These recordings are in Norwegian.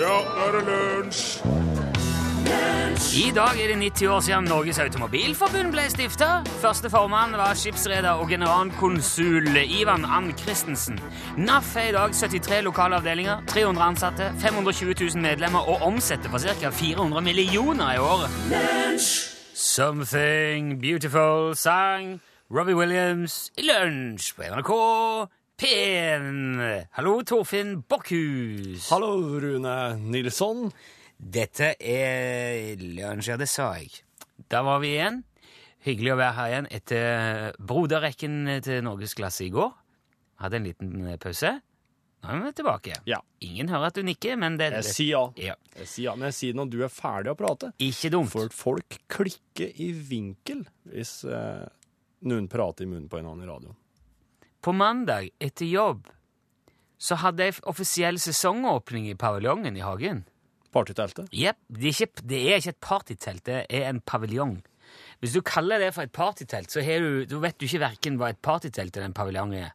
Ja, nå er det lunsj! I dag er det 90 år siden Norges Automobilforbund ble stifta. Første formann var skipsreder og generalkonsul Ivan Ann Christensen. NAF er i dag 73 lokale avdelinger, 300 ansatte, 520 000 medlemmer og omsetter for ca. 400 millioner i året. Something Beautiful sang Robbie Williams i lunsj på NRK P1. Hallo, Torfinn Bokkhus. Hallo, Rune Nilsson. Dette er lunsj, ja, det sa jeg. Der var vi igjen. Hyggelig å være her igjen etter broderrekken til norgesklasse i går. Hadde en liten eh, pause. Nå er vi tilbake. Ja. Ingen hører at du nikker, men det, Jeg sier ja. Ja. Jeg sier ja, Men jeg sier når du er ferdig å prate. Ikke dumt. For folk klikker i vinkel hvis eh, noen prater i munnen på en annen i radioen. På mandag etter jobb så hadde jeg offisiell sesongåpning i paviljongen i hagen. Partyteltet. Jepp. Det, er ikke- det er ikke et partytelt, det er en paviljong. Hvis du kaller det for et partytelt, så har du, da vet du ikke hverken hva et partytelt eller en paviljong er.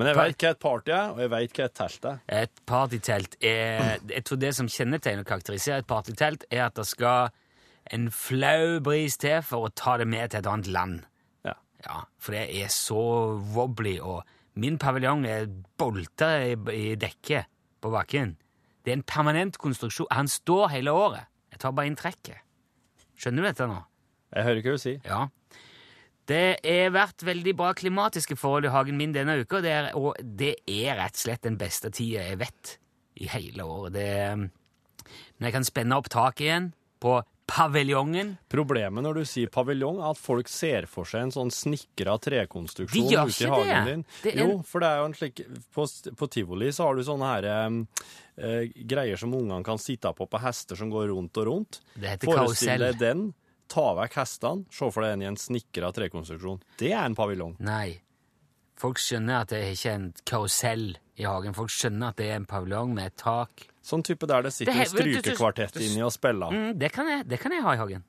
Men jeg veit hva et party er, og jeg veit hva et telt er. Et partytelt er Jeg tror det som kjennetegner og karakteriserer et partytelt, er at det skal en flau bris til for å ta det med til et annet land. Ja. Ja, For det er så wobbly, og min paviljong er bolta i, i dekket på bakken. Det er en permanent konstruksjon. Han står hele året. Jeg tar bare inn trekket. Skjønner du dette nå? Jeg hører ikke hva du sier. Ja. Det har vært veldig bra klimatiske forhold i hagen min denne uka, det er, og det er rett og slett den beste tida jeg vet i hele året. Det er, når jeg kan spenne opp taket igjen på paviljongen Problemet når du sier paviljong, er at folk ser for seg en sånn snikra trekonstruksjon De gjør ute i ikke det. hagen din. Det er- Jo, for det er jo en slik På, på tivoli så har du sånne her, eh, eh, greier som ungene kan sitte på på hester som går rundt og rundt. Det heter Forestill karusell. deg den, ta vekk hestene, se for deg den i en snikra trekonstruksjon. Det er en paviljong. Nei. Folk skjønner at det er ikke en karusell i hagen. Folk skjønner at det er en paviljong med et tak. Sånn type der det sitter Det en er- vet du, du- strykekvartett du- inni og spiller. Mm, det, kan jeg, det kan jeg ha i hagen.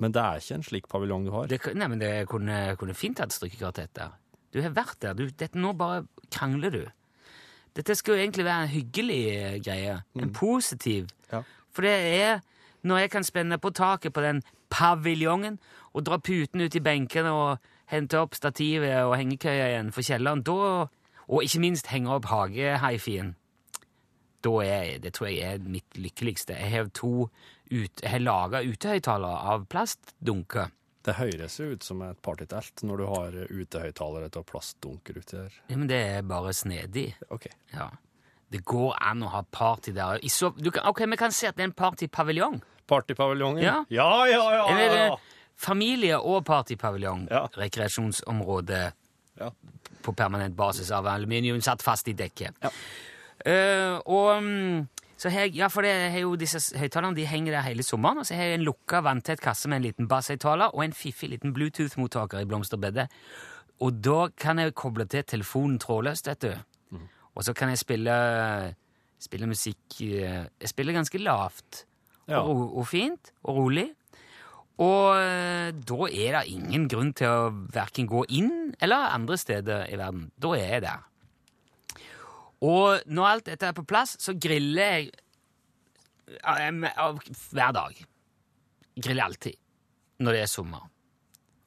Men det er ikke en slik paviljong du har. Det, kan- nei, men det kunne, kunne fint hatt strykekvartett der. Du har vært der. Du, dette, nå bare krangler du. Dette skal jo egentlig være en hyggelig eh, greie. En positiv. Ja. For det er når jeg kan spenne på taket på den paviljongen og dra puten ut i benkene og hente opp stativet og hengekøya igjen for kjelleren, da, og ikke minst henge opp hagehifien. Da er jeg, det tror jeg er mitt lykkeligste. Jeg har to ut, jeg har laga utehøyttalere av plastdunker. Det høres jo ut som et partytelt når du har utehøyttalere av plastdunker uti der. Ja, men det er bare snedig. Ok. Ja. Det går an å ha party der. I så, du kan, ok, vi kan se at det er en partypaviljong. Partypaviljongen? Ja. ja, ja, ja, ja, Eller Ah, ja. eh, familie- og partypaviljong. Ja. Rekreasjonsområde Ja. eh, på permanent basis av aluminium satt fast i dekket. Eh, og mm, så har jeg, ja, for det har jo disse s- høyttalerne de henger der hele sommeren. Og så har jeg en lukka, vanntett kasse med en liten basshøyttaler og en fiffig liten Bluetooth-mottaker i blomsterbedet. Og da kan jeg koble til telefonen trådløst, vet du. Og så kan jeg spille, spille musikk eh, Jeg spiller ganske lavt Ja. og, ro- og fint og rolig. Og eh, da er det ingen grunn til å verken gå inn eller andre steder i verden. Da er jeg der. Og når alt dette er på plass, så griller jeg eh, em, av- hver dag. Griller alltid når det er sommer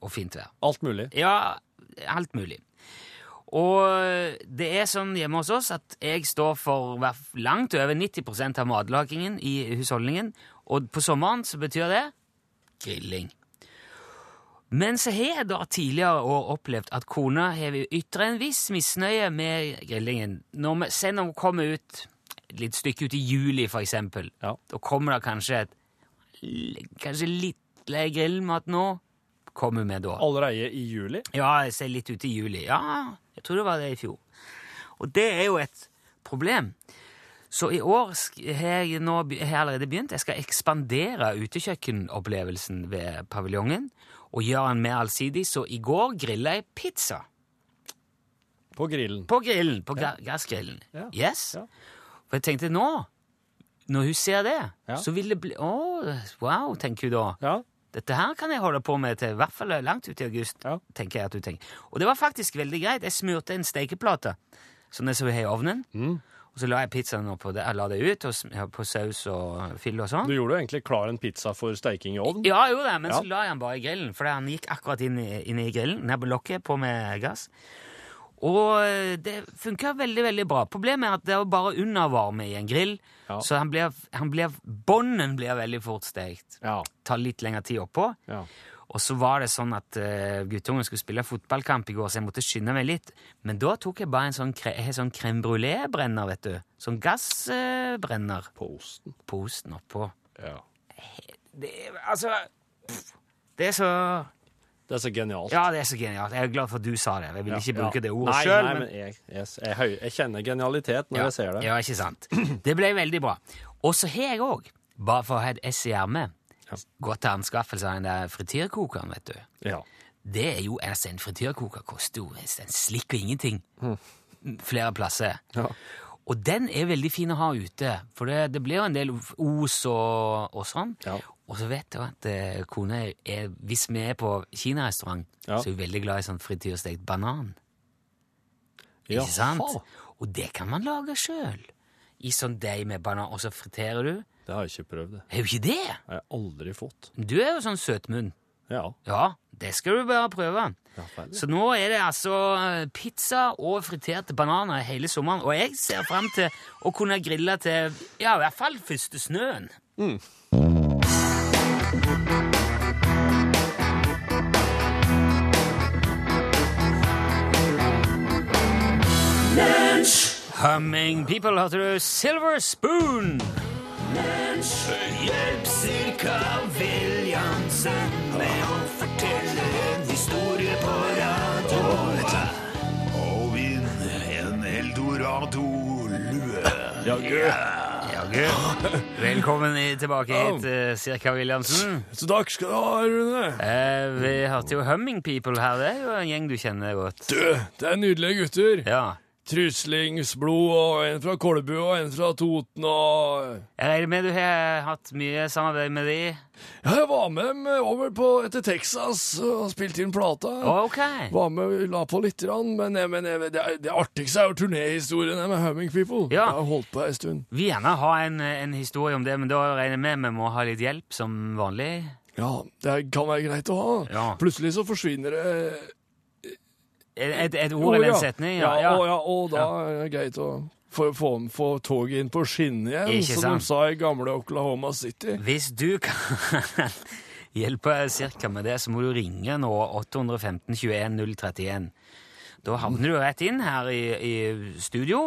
og fint vær. Alt mulig. Ja, alt mulig. Og det er sånn hjemme hos oss at jeg står for hver- langt over 90 av matlagingen i husholdningen, og på sommeren så betyr det grilling. Men så har jeg da tidligere år opplevd at kona har ytra en viss misnøye med grillingen. Når vi, se når vi kommer ut et litt stykke ut i juli, for eksempel. Ja. Da kommer det kanskje et Kanskje litt lei grillmat nå. Kommer vi med da. Allerede i juli? Ja, jeg ser litt ut i juli. Ja, jeg tror det var det i fjor. Og det er jo et problem. Så i år sk- har jeg, nå, be- har jeg allerede begynt. Jeg skal ekspandere utekjøkkenopplevelsen ved paviljongen og gjøre den mer allsidig, så i går grilla jeg pizza. På grillen. På grillen, på ga gassgrillen. Ja. Yes. Ja. For jeg tenkte nå, når hun ser det, Ja. så vil det bli Å, wow, tenker hun da. Ja. Dette her kan jeg holde på med til i hvert fall langt ut i august, Ja. tenker jeg at du Mm. tenker. Og det var faktisk veldig greit. Jeg smurte en stekeplate, som jeg så har i ovnen. Og så la jeg pizzaen oppå det, jeg la det ut og, sm- på saus og fyll og sånn. Du gjorde jo egentlig klar en pizza for steiking i ovn. Ja, jeg gjorde det, men Ja. så la jeg den bare i grillen, for han gikk akkurat inn i, inn i grillen, ned på lokket, på med gass. Og eh, det funka veldig veldig bra. Problemet er at det er jo bare undervarme i en grill, Ja. så han blir, han blir, bånden blir veldig fort stekt. Ja. Tar litt lengre tid oppå. ja. Og så var det sånn at eh, guttungen skulle spille fotballkamp i går, så jeg måtte skynde meg litt. Men da tok jeg bare en sånn, kre, jeg har sånn crème brulé-brenner, vet du. Sånn gassbrenner På osten. på osten oppå. Ja. Det er altså pff, Det er så Det er så genialt. Ja, det er så genialt. Jeg er glad for at du sa det. Jeg vil Ja, ikke ja. bruke det ordet Nei, sjøl, Nei, men men jeg, jeg, jeg, høy- jeg kjenner genialitet når ja, jeg ser det. ja, ikke sant. Det ble veldig bra. Og så har jeg òg, bare for å ha et ess i ermet, gått til anskaffelse av den der frityrkokeren, vet du. Ja. det er jo altså En frityrkoker koster jo en slikk og ingenting Hm. flere plasser. Ja. Og den er veldig fin å ha ute, for det, det blir jo en del os og, og sånn. Ja. Og så vet du at eh, kona er Hvis vi er på kinarestaurant, Ja. så er hun veldig glad i sånn frityrstekt banan. Ja. Ikke sant? faen. Og det kan man lage sjøl. I sånn deig med banan, og så friterer du. Det har jeg ikke prøvd. Det Er jo ikke det! har jeg aldri fått. Du er jo sånn søtmunn. Ja. Ja, det skal du bare prøve. ja vel. Så nå er det altså eh, pizza og friterte bananer hele sommeren, og jeg ser frem til å kunne grille til ja, i hvert fall første snøen. Humming People hørte du Silver Spoon. Hjelp cirka Williamsen med å fortelle en historie på rad og Og vinn en Eldorado-lue. Velkommen i- tilbake hit, eh, Sirka Williamsen. Så takk skal du ha, Rune. Eh, vi hørte jo Humming People her. Det er jo en gjeng du kjenner godt. Du, det er nydelige gutter. Ja. Truslingsblod og en fra Kolbu og en fra Toten og Jeg regner med du har hatt mye samarbeid med de. Ja, jeg var med dem over på, til Texas og spilte inn plata. Ok. Var med, la på litt, grann, men, eh, men eh, det, er- det artigste er jo turnéhistorien med Humming People. Ja. Jeg har holdt på en stund. Vi gjerne ha en, en historie om det, men da regner jeg med vi må ha litt hjelp som vanlig. Ja, det kan være greit å ha. Ja. Plutselig så forsvinner det Et, et, et ord eller en setning. Ja, Og, ja. ja, og da er det greit å få, få, få toget inn på skinnet igjen, Ikke som sant? de sa i gamle Oklahoma City. Hvis du kan hjelpe cirka med det, så må du ringe nå 815 21 031. Da havner du rett inn her i, i studio,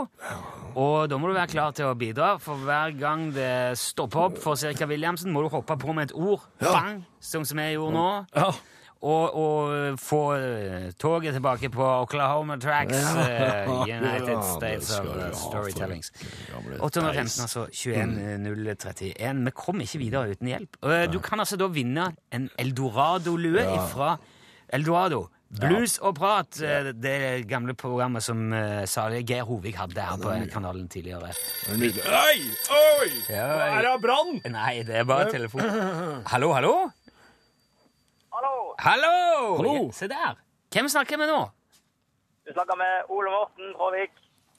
og da må du være klar til å bidra. For hver gang det stopper opp for Cirka Williamsen, må du hoppe på med et ord. Bang! Sånn som jeg gjorde nå. Ja, og, og få eh, toget tilbake på Oklahoma Tracks eh, United Ja, Ah, det States skal of eh, uh, du ha, Storytellings. gamle 815, altså 21031. Vi kom ikke videre uten hjelp. Eh, Du kan altså da vinne en Eldorado-lue fra Eldorado. Blues og prat, eh, det gamle programmet som eh, salige Geir Hovig hadde her på kanalen tidligere. det er nydelig. Oi! Oi! Ja, Nå er det brann! Nei, det er bare telefon. Hallo, hallo? Hallo, Hallo! Hallo. Ja, se der. Hvem snakker jeg med nå? du snakker med Ole Morten Tråvik.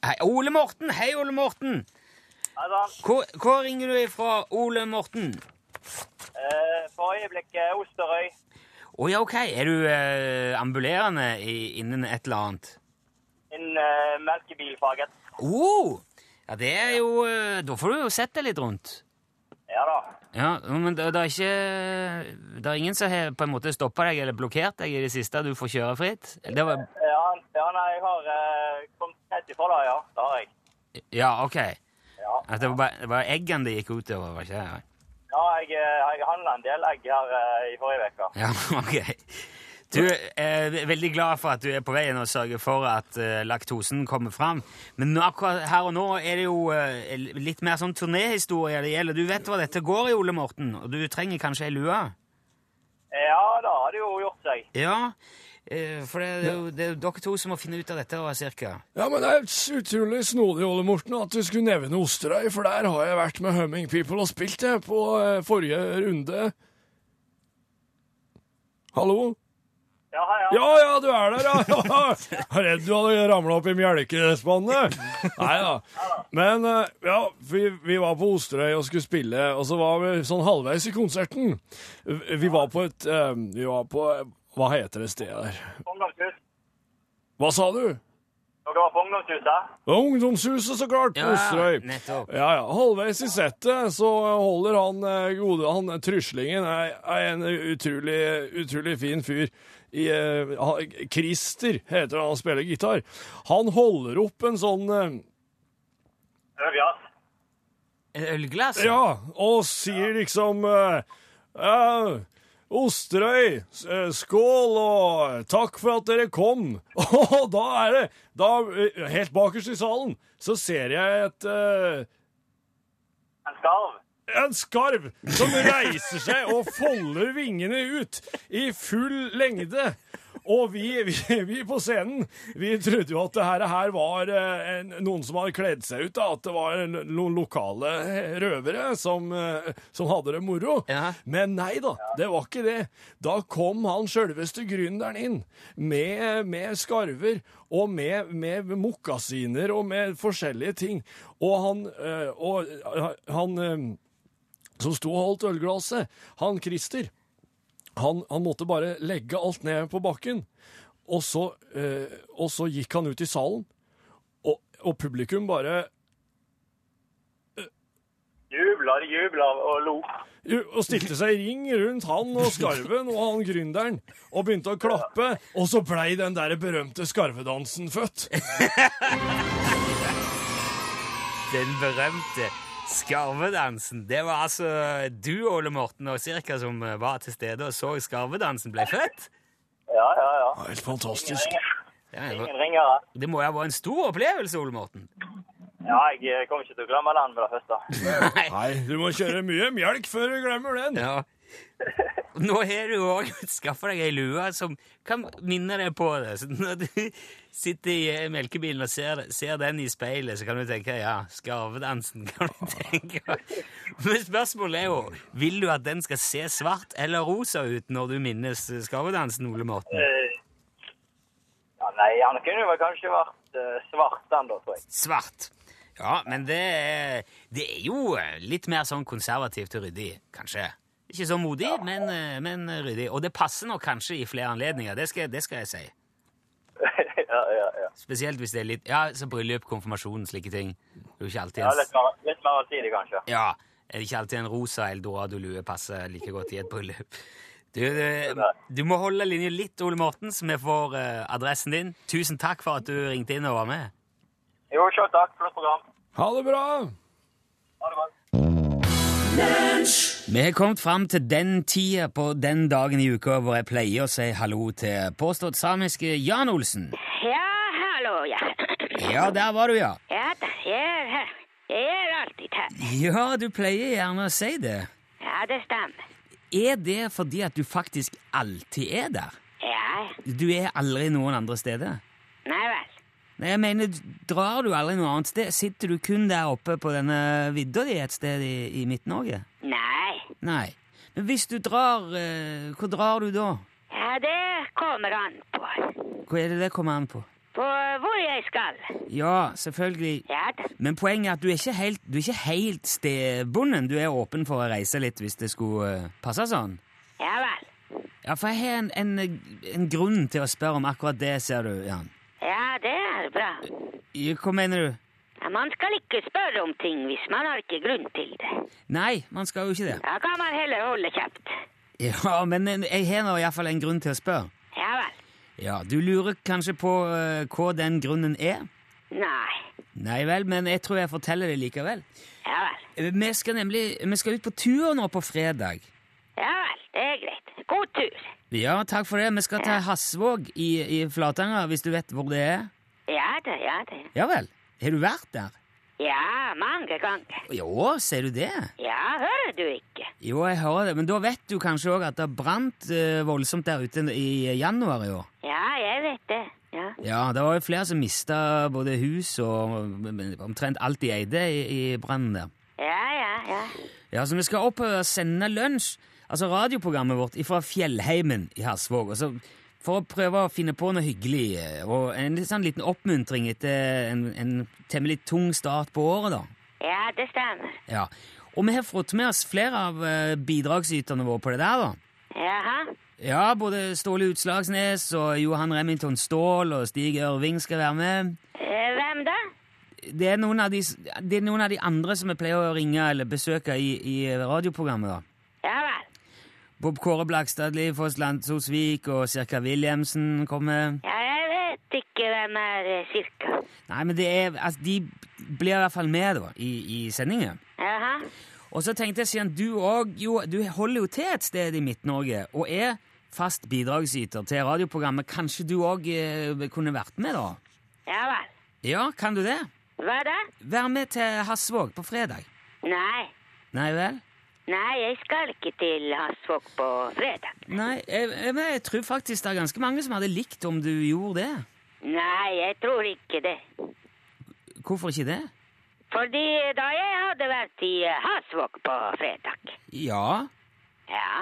Hei, Ole Morten! Hei, Ole Morten! Er det sant? Hvor, hvor ringer du ifra, Ole Morten? Eh, for øyeblikket Osterøy. Å ja, ok. Er du eh, ambulerende i, innen et eller annet? Innen eh, melkebilfaget. Oh! Ja, det er jo eh, Da får du jo sett deg litt rundt. Ja da. Ja, men det, det er ikke Det er ingen som har på en måte stoppa deg eller blokkert deg i det siste? Du får kjøre fritt? Det var, Ja, Eh, ja nei, jeg har eh, kommet tett ifra da, ja. Det har jeg. ja, ok. Ja, At det var bare det var eggene det gikk utover, var ikke det? ja jeg, eh, jeg handlet en del egg her eh, i forrige uke. Ja, ok. Du er veldig glad for at du er på veien og sørger for at eh, laktosen kommer fram. Men nå, akkurat her og nå er det jo eh, litt mer sånn turnéhistorie det gjelder. Du vet hva dette går i, Ole Morten, og du trenger kanskje ei lue? Eh, Ja, da har det jo gjort seg. Ja, eh, for det er, jo, det er jo dere to som må finne ut av dette, cirka. Ja, men det er utrolig snodig, Ole Morten, at du skulle nevne Osterøy, for der har jeg vært med Humming People og spilt, jeg, på eh, forrige runde. Hallo? Ja, ja. Ja, ja, du er der, ja! Jeg er redd du hadde ramla opp i mjelkespannet. Nei da. Men eh, ja, vi, vi var på Osterøy og skulle spille, og så var vi sånn halvveis i konserten. Vi var på et eh, Vi var på Hva heter det stedet der? På ungdomshus. Hva sa du? Dere var på ungdomshuset? Det var Ungdomshuset, så klart, på Ja, Osterøy. nettopp. Ja, ja. Halvveis i settet så holder han eh, gode Han eh, Tryslingen er, er en utrolig, utrolig fin fyr. I, eh, ha- Christer heter han, han spiller gitar. Han holder opp en sånn eh, Ørjas. Ølglass? Ja, og sier liksom eh, eh, Osterøy, s- eh, skål og takk for at dere kom. Og da er det da, eh, Helt bakerst i salen så ser jeg et eh, En skarv. en skarv som reiser seg og folder vingene ut i full lengde. Og vi, vi, vi på scenen vi trodde jo at det her, her var eh, en, noen som hadde kledd seg ut. Da, at det var lo- noen lokale røvere som, eh, som hadde det moro. Ja. Men nei da, det var ikke det. Da kom han sjølveste gründeren inn med, med skarver og med, med mokasiner og med forskjellige ting. Og han, eh, og, eh, han eh, som sto og holdt ølglasset, han Christer, han, han måtte bare legge alt ned på bakken. Og så, eh, og så gikk han ut i salen, og, og publikum bare Jubla, de jubla og lo. og stilte seg i ring rundt han og skarven og han gründeren og begynte å klappe, og så blei den der berømte skarvedansen født. Den berømte skarvedansen. Det var altså du, Ole Morten, og cirka som var til stede og så skarvedansen ble født. Ja, ja, ja. Helt fantastisk. Det Ingen ringere. det må jo ha vært en stor opplevelse, Ole Morten. Ja, jeg kommer ikke til å glemme den med det første. Nei. Nei, du må kjøre mye melk før du glemmer den. Ja. Nå har du òg skaffa deg ei lue som kan minne deg på det. Så når du sitter i eh, melkebilen og ser, ser den i speilet, så kan du tenke ja, skarvedansen. kan du tenke. Men spørsmålet er jo vil du at den skal se svart eller rosa ut når du minnes eh, skarvedansen, Ole Morten? Eh, Ja, nei, han kunne vel kanskje vært eh, svart den da, tror jeg. Svart. Ja, men det er, det er jo eh, litt mer sånn konservativt og ryddig, kanskje. Ikke så modig, men, eh, men ryddig. Og det passer nok kanskje i flere anledninger, det skal, det skal jeg si. ja, ja, ja. Spesielt hvis det er litt Ja, så bryllup, konfirmasjon, slike ting. Det er jo ikke alltid ja litt, en, mer, litt mer tidlig, kanskje. ja, er det ikke alltid en rosa eldorado-lue passer like godt i et bryllup. Du, du, Nei. du må holde linja litt, Ole Morten, så vi får eh, adressen din. Tusen takk for at du ringte inn og var med. Jo, sjøl takk. Flott program. Ha det bra! Ha det bra. Vi har kommet fram til den tida på den dagen i uka hvor jeg pleier å si hallo til påstått samiske Jan Olsen. Ja, hallo, ja. Ja, der var du, ja. Ja da, jeg er her. Jeg er alltid her. Ja, du pleier gjerne å si det. Ja, det stemmer. Er det fordi at du faktisk alltid er der? Ja, Du er aldri noen andre steder? nei vel. Nei, jeg mener, drar du aldri noe annet sted? Sitter du kun der oppe på denne vidda di et sted i, i Midt-Norge? Nei. Nei. Men hvis du drar, eh, hvor drar du da? Ja, det kommer an på. Hva er det det kommer an på? På hvor jeg skal. Ja, selvfølgelig. Ja da. Men poenget er at du er ikke helt, du er ikke helt stedbonden. Du er åpen for å reise litt hvis det skulle eh, passe sånn. Ja vel. Ja, for jeg har en, en, en grunn til å spørre om akkurat det, ser du, Jan. Ja, det er bra. Ja, Hva mener du? Ja, man skal ikke spørre om ting hvis man har ikke grunn til det. Nei, man skal jo ikke det. Da kan man heller holde kjeft. Ja, men jeg har nå iallfall en grunn til å spørre. Ja vel. Ja, du lurer kanskje på eh, hva den grunnen er? Nei. Nei vel, men jeg tror jeg forteller det likevel. Ja vel. Eh, Vi skal nemlig vi skal ut på tur nå på fredag. Ja vel, det er greit. God tur. Ja, takk for det. Vi skal til Hasvåg i, i Flatanger, hvis du vet hvor det er. Ja da, ja da. Ja vel. Har du vært der? Ja, mange ganger. Jo, sier du det? Ja, hører du ikke? Jo, jeg hører det, men da vet du kanskje òg at det brant eh, voldsomt der ute i januar i år. Ja, jeg vet det. Ja, Ja, det var jo flere som mista både hus og eh, omtrent alt de eide i, i brannen der. ja, ja. ja. Ja, så vi skal opp og sende lunsj, altså radioprogrammet vårt, fra Fjellheimen i Hasvåg. Og så for å prøve å finne på noe hyggelig. eh, Og en litt sånn liten oppmuntring etter en, en temmelig tung start på året, da. Ja, det stemmer. Ja. Og vi har fått med oss flere av eh, bidragsyterne våre på det der, da. Jaha. Ja, både Ståle Utslagsnes og Johan Remington Ståhl og Stig Ørving skal være med. Eh, Hvem da? Det er noen av de, det er noen av de andre som vi pleier å ringe eller besøke i, i radioprogrammet. da. Ja vel. Bob Kåre Blakstad, Liv Foss Landsosvik og Cirka Williamsen kommer. Ja, jeg vet ikke hvem er eh, cirka. Nei, men det er, altså, de blir i hvert fall med da, i, i sendingen. Jaha. Og så tenkte jeg, siden du òg Jo, du holder jo til et sted i Midt-Norge og er fast bidragsyter til radioprogrammet. Kanskje du òg eh, kunne vært med, da? Ja vel. Ja, kan du det? Hva da? Vær med til Hasvåg på fredag. Nei. Nei vel? Nei, jeg skal ikke til Hasvåg på fredag. Nei, jeg, jeg, men jeg tror faktisk det er ganske mange som hadde likt om du gjorde det. Nei, jeg tror ikke det. Hvorfor ikke det? Fordi da jeg hadde vært i eh, Hasvåg på fredag Ja. Ja.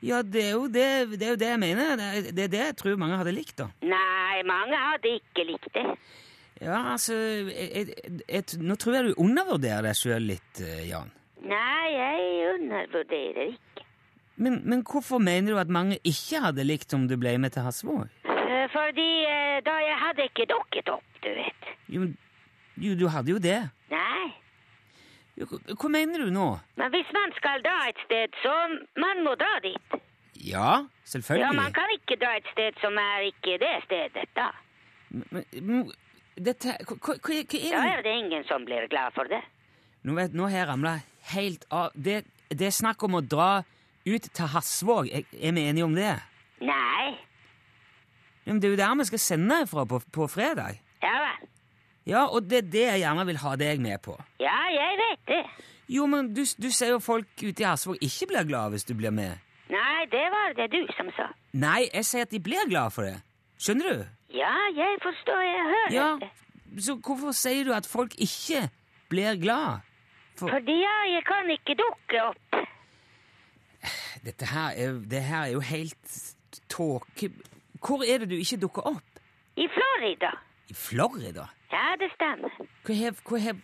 Ja, det er jo det, det, er jo det jeg mener. Det er- det er det jeg tror mange hadde likt, da. Nei, mange hadde ikke likt det. Ja, altså jeg, jeg, jeg, Nå tror jeg du undervurderer deg sjøl litt, eh, Jan. Nei, jeg undervurderer ikke. Men, men hvorfor mener du at mange ikke hadde likt om du ble med til Hasvåg? Eh, Fordi eh, da jeg hadde ikke dukket opp, du vet. Jo, men- jo, du hadde jo det. Nei. Jo, hva- Hva mener du nå? Men hvis man skal dra et sted, så man må dra dit. Ja, selvfølgelig. Ja, man kan ikke dra et sted som er ikke det stedet, da. Men, men dette, hva, hva, hva er det Da er det ingen som blir glad for det. Nå, vet, nå har jeg ramla helt av det, det er snakk om å dra ut til Hasvåg. Er, er vi enige om det? Nei. Ja, Men det er jo der vi skal sende fra på, på fredag. Ja vel. Ja, og det er det jeg gjerne vil ha deg med på. Ja, jeg vet det. Jo, men du, du sier jo folk ute i Hasvåg ikke blir glad hvis du blir med. Nei, det var det du som sa. Nei, jeg sier at de blir glad for det. Skjønner du? Ja, jeg forstår, jeg hører Ja. det. Så hvorfor sier du at folk ikke blir glad? Fordi ja, jeg kan ikke dukke opp. Dette her er, det her er jo helt tåke... Hvor er det du ikke dukker opp? I Florida. I Florida? Ja, det stemmer. Hva hev, hva hev,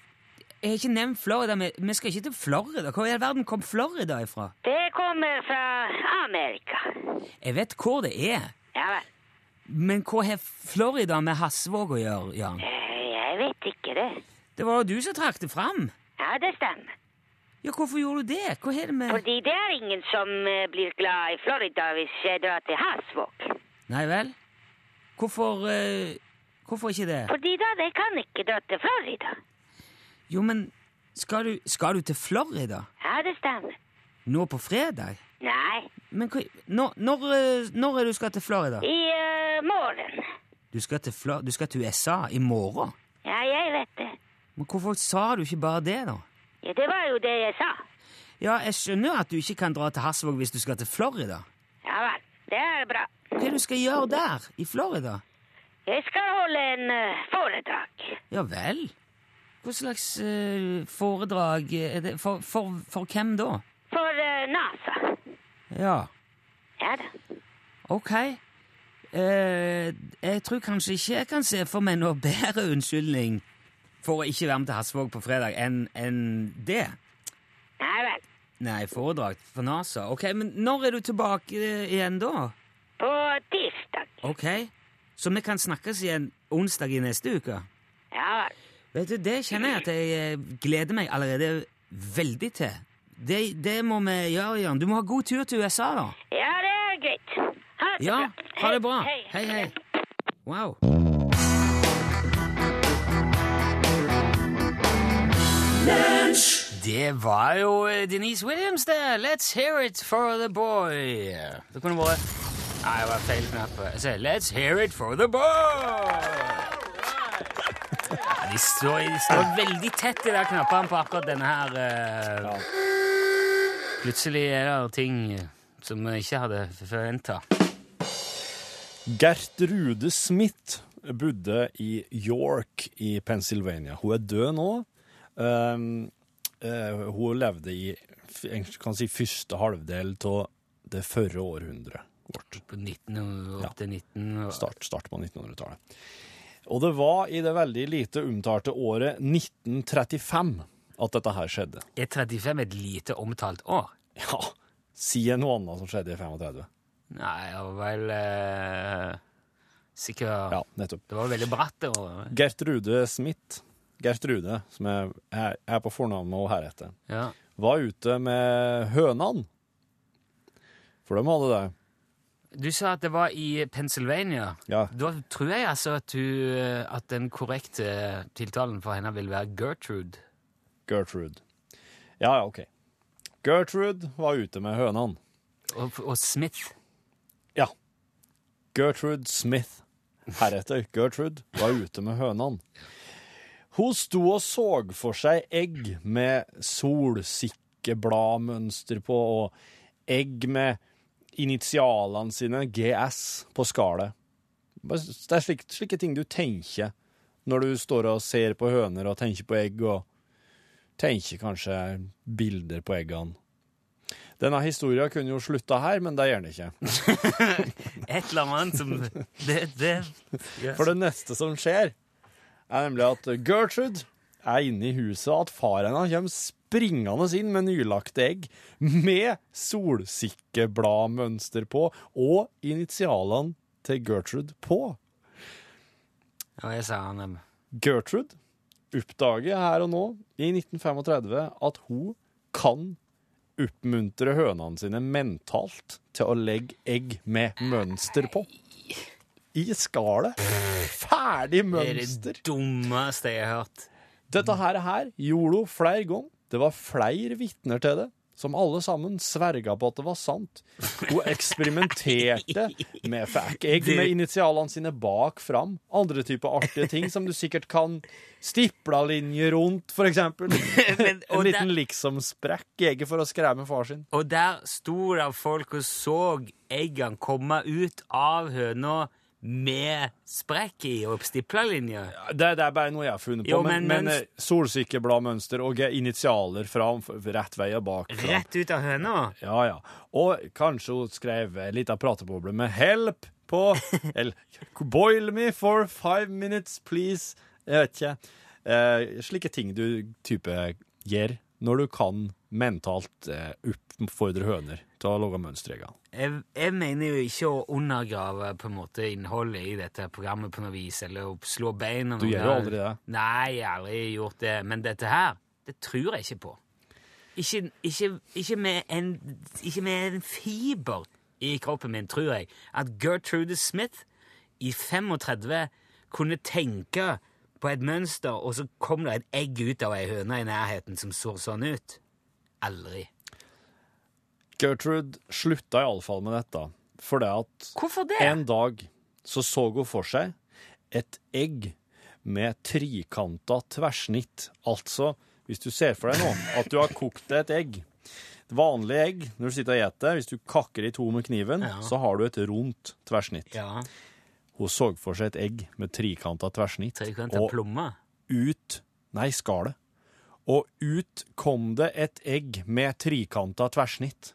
jeg har ikke nevnt Florida, men vi skal ikke til Florida. Hvor i all verden kom Florida ifra? Det kommer fra Amerika. Jeg vet hvor det er, Ja vel. men hva har Florida med Hasvåg å gjøre, Jan? Eh, Jeg vet ikke det. Det var jo du som trakk det fram. Ja, det stemmer. Ja, hvorfor gjorde du det? Hva har det med Fordi det er ingen som eh, blir glad i Florida hvis jeg drar til Hasvåg. Nei vel? Hvorfor eh, Hvorfor ikke det? Fordi da, jeg kan ikke dra til Florida. Jo, men skal du, skal du til Florida Ja, det stemmer. nå på fredag? Nei, Men hva, når, når, eh, når er du skal til Florida? i eh, morgen. Du skal til, Flo- du skal til USA i morgen? Ja, jeg vet det. Men hvorfor sa du ikke bare det, da? Ja, det var jo det jeg sa. Ja, jeg skjønner at du ikke kan dra til Hasvåg hvis du skal til Florida. Ja vel, det er bra. Hva er det du skal gjøre der, i Florida? Jeg skal holde en eh, foredrag. Ja vel? Hva slags eh, foredrag er det? For, for, for hvem da? For eh, NASA. Ja, Ja da. ok. Eh, jeg tror kanskje ikke jeg kan se for meg noe bedre unnskyldning for å ikke være med til Hasvåg på fredag enn enn det. Nei vel. Nei, foredrag for NASA. Ok, men når er du tilbake eh, igjen da? På tirsdag. Ok, så vi kan snakkes igjen onsdag i neste uke? Ja vel. Vet du, Det kjenner jeg at jeg eh, gleder meg allerede veldig til. Det, det må vi gjøre, Jørn. Du må ha god tur til USA, da. Ja, det er greit. Ha det Ja, bra. ha det bra. Hei, hei. Wow. Det var jo eh, Denise Williams, det. Let's hear it for the boy. Det kunne vært Nei, det var feil knapp. Jeg sier, Let's hear it for the boy. Ja, de, står, de står veldig tett i de der knappene på akkurat denne her. eh. Plutselig er det ting som jeg ikke hadde forventa. Gertrude Smith bodde i York i Pennsylvania. Hun er død nå. Ehm, Um, eh, hun levde i f- en kan si, første halvdel av det forrige århundret. vårt. På 1900 opp til 19 og- Start, start på 1900-tallet. Og det var i det veldig lite omtalte året 1935 at dette her skjedde. E Er 35 et lite omtalt år? Ja, sier noe annet som skjedde i 35. Nei, ja vel eh, Sikkert Ja, nettopp. Det var veldig bratt. det året. Gertrude Smith, Gertrude, som jeg er, er på fornavn med henne heretter, Ja. var ute med hønene. For de hadde det. Du sa at det var i Pennsylvania. Ja. Da tror jeg altså at, du, at den korrekte eh, tiltalen for henne vil være Gertrude. Gertrude. Ja, ja, OK. Gertrude var ute med hønene. Og, og Smith. Ja. Gertrude Smith. Heretter Gertrude var ute med hønene. Hun sto og så for seg egg med solsikkebladmønster på, og egg med initialene sine, GS, på skallet. Bare s- Det er slik, slike ting du tenker når du står og ser på høner og tenker på egg, og tenker kanskje bilder på eggene. Denne historien kunne jo slutta her, men det gjør den ikke. Et eller annet som Det, det yes. For det neste som skjer, er nemlig at Gertrude er inne i huset, og at far hennes kommer springende inn med nylagte egg med solsikkebladmønster på, og initialene til Gertrude på. Og jeg sa han um, Gertrude oppdager her og nå, i 1935, at hun kan oppmuntre hønene sine mentalt til å legge egg med mønster på. I skallet. Ferdig Det er det mønster. dummeste jeg har hørt. Dette her, her gjorde hun flere ganger. Det var flere vitner til det, som alle sammen sverga på at det var sant. Hun eksperimenterte med fikk egg med initialene sine bak fram. Andre typer artige ting som du sikkert kan stipla linjer rundt, for eksempel. og En liten der- liksom-sprekk i egget for å skremme far sin. Og der sto det folk og så eggene komme ut av høna med sprekk i og stipla linjer. Det, det er bare noe jeg har funnet på, Jo, men, men- men, eh, solsikkebladmønster og initialer fram, rett vei og bak fram. Rett ut av høna. Ja, ja. Og kanskje hun skrev en liten prateboble med 'help' på Eller 'boil me for five minutes, please'. Jeg vet ikke. Eh, slike ting du type gjør når du kan mentalt eh, oppfordre høner til å lage mønsterregler. Jeg, jeg mener jo ikke å undergrave på en måte innholdet i dette programmet på noe vis, eller å slå beina Du under- gjør jo aldri det. Nei, jeg har aldri gjort det. Men dette her, det tror jeg ikke på. Ikke, ikke, ikke, med en, ikke med en fiber i kroppen min tror jeg at Gertrude Smith i 35 kunne tenke på et mønster, og så kom det et egg ut av ei høne i nærheten som så sånn ut. Aldri. Gertrude slutta iallfall med dette, fordi at Hvorfor det? En dag så så hun for seg et egg med trikanta tverrsnitt. Altså, hvis du ser for deg nå at du har kokt deg et egg Et vanlig egg, når du sitter og eter, hvis du kakker i to med kniven, Ja. så har du et rundt tverrsnitt. Ja, Hun så for seg et egg med trikanta tverrsnitt, trikant av og plomme. ut Nei, skallet. Og ut kom det et egg med trikanta tverrsnitt.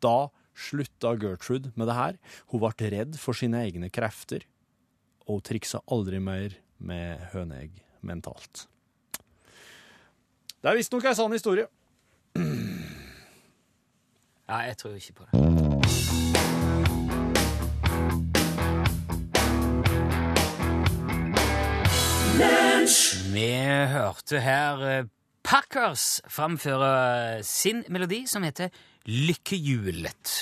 Da slutta Gertrude med det her. Hun ble redd for sine egne krefter, og hun triksa aldri mer med høneegg mentalt. Det er visstnok ei sann historie. Ja, jeg tror ikke på det. Vi hørte her eh, Packers framføre sin melodi som heter Lykkehjulet.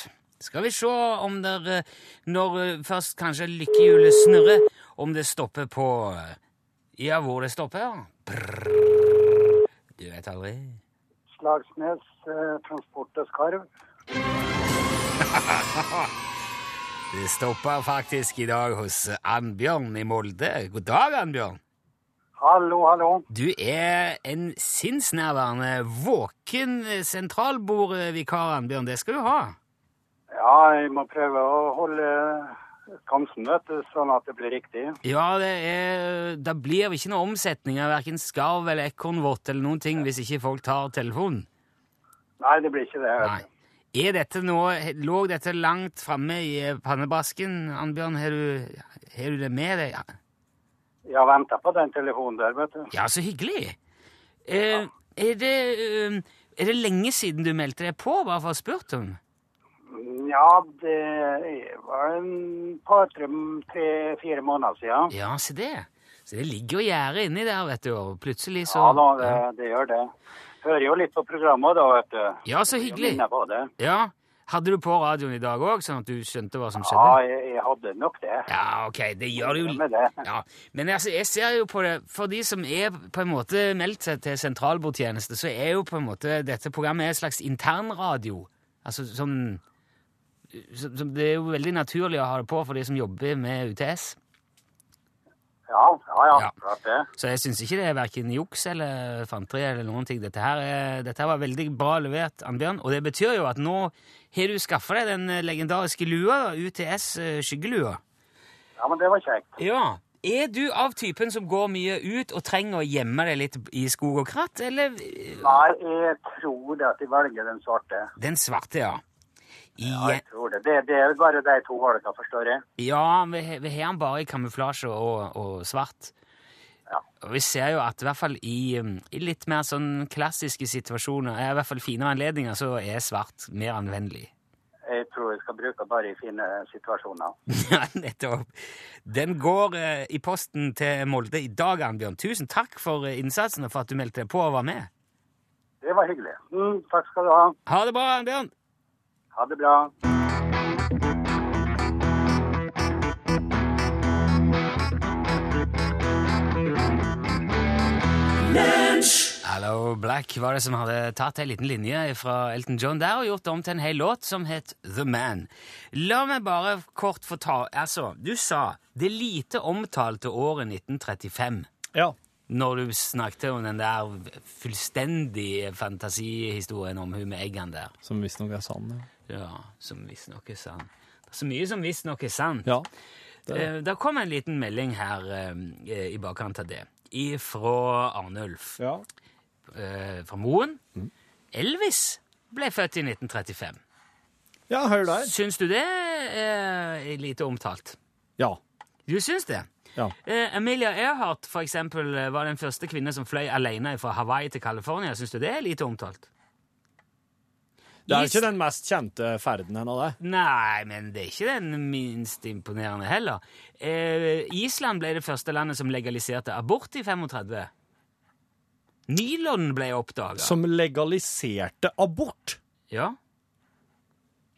Skal vi se om der, eh, når eh, først kanskje lykkehjulet snurrer, om det stopper på eh, Ja, hvor det stopper, ja. Brrr. Du vet aldri. Slagsnes eh, Transport og Skarv. Det stopper faktisk i dag hos Annbjørn i Molde. God dag, Annbjørn. Hallo, hallo. Du er en sinnsnærværende, våken sentralbordvikar, Annbjørn. Det skal du ha. Ja, jeg må prøve å holde skansen, vet du, sånn at det blir riktig. Ja, det er, da blir det ikke noe omsetning av verken skarv eller ekornvott eller noen ting hvis ikke folk tar telefonen. Nei, det blir ikke det. vet Nei. du. Er dette noe, Lå dette langt framme i eh, pannebrasken, Annbjørn? Har du, har du det med deg? Ja. Jeg venta på den telefonen der, vet du. Ja, så hyggelig. Eh, er, det, eh, er det lenge siden du meldte deg på, bare for å ha spurt om? Mm, Ja, det var en par-tre fire måneder siden. Ja, se det. Så det ligger jo gjerdet inni der, vet du, og plutselig så Ja da, det, det gjør det. Hører jo litt på programmet da, vet du. Ja, så Jeg hyggelig. minner på det. Ja. Hadde du på radioen i dag òg, sånn at du skjønte hva som Ja, skjedde? jeg, jeg hadde nok det. Ja, ok, det gjør det jo Stemmer det. Ja. Men altså, jeg ser jo på det For de som er på en måte meldt seg til sentralbordtjeneste, så er jo på en måte dette programmet et slags internradio. Altså sånn så, så Det er jo veldig naturlig å ha det på for de som jobber med UTS. Ja, ja, ja, Ja. klart det. Så jeg syns ikke det er verken juks eller fanteri eller noen ting. Dette her, er, dette her var veldig bra levert, Annbjørn. Og det betyr jo at nå har du skaffa deg den legendariske lua, eh, UTS-skyggelua. Ja, men det var kjekt. Ja. Er du av typen som går mye ut og trenger å gjemme deg litt i skog og kratt, eller eh, Nei, jeg tror det at de velger den svarte. Den svarte, ja. I, Ja, jeg tror det. Det, det er jo bare de to valgene, forstår jeg. ja, vi he- vi har den bare i kamuflasje og, og svart. Ja. Og vi ser jo at i hvert fall i, um, i litt mer sånn klassiske situasjoner, eh, i hvert fall finere anledninger, så er svart mer anvendelig. Jeg tror jeg skal bruke bare i fine situasjoner. Ja, nettopp. Den går eh, i posten til Molde i dag, Annbjørn. Tusen takk for eh, innsatsen og for at du meldte deg på og var med. Det var hyggelig. Mm, takk skal du ha. Ha det bra, Annbjørn! Ha det bra. Hello Black var det som hadde tatt en liten linje fra Elton John der og gjort det om til en hel låt som het The Man. La meg bare kort få ta Altså, du sa det lite omtalte året 1935 Ja. når du snakket om den der fullstendige fantasihistorien om hun med eggene der. Som visstnok er sann. Ja. Ja, som visstnok er sann. Det er så mye som visstnok er sant. ja. Eh, Det kom en liten melding her eh, i bakkant av det, ifra Arnulf. ja. eh, fra Moen. Mm. Elvis ble født i 1935. Ja, hør der. Syns du det eh, er lite omtalt? Ja. Du syns det? Ja. Eh, Amelia Earhart for eksempel, eh, var den første kvinne som fløy alene fra Hawaii til California. Syns du det er lite omtalt? Det er ikke den mest kjente ferden hennes, det. Nei, men det er ikke den minst imponerende heller. Eh, Island ble det første landet som legaliserte abort i 35. Nylon ble oppdaga. Som legaliserte abort. Ja,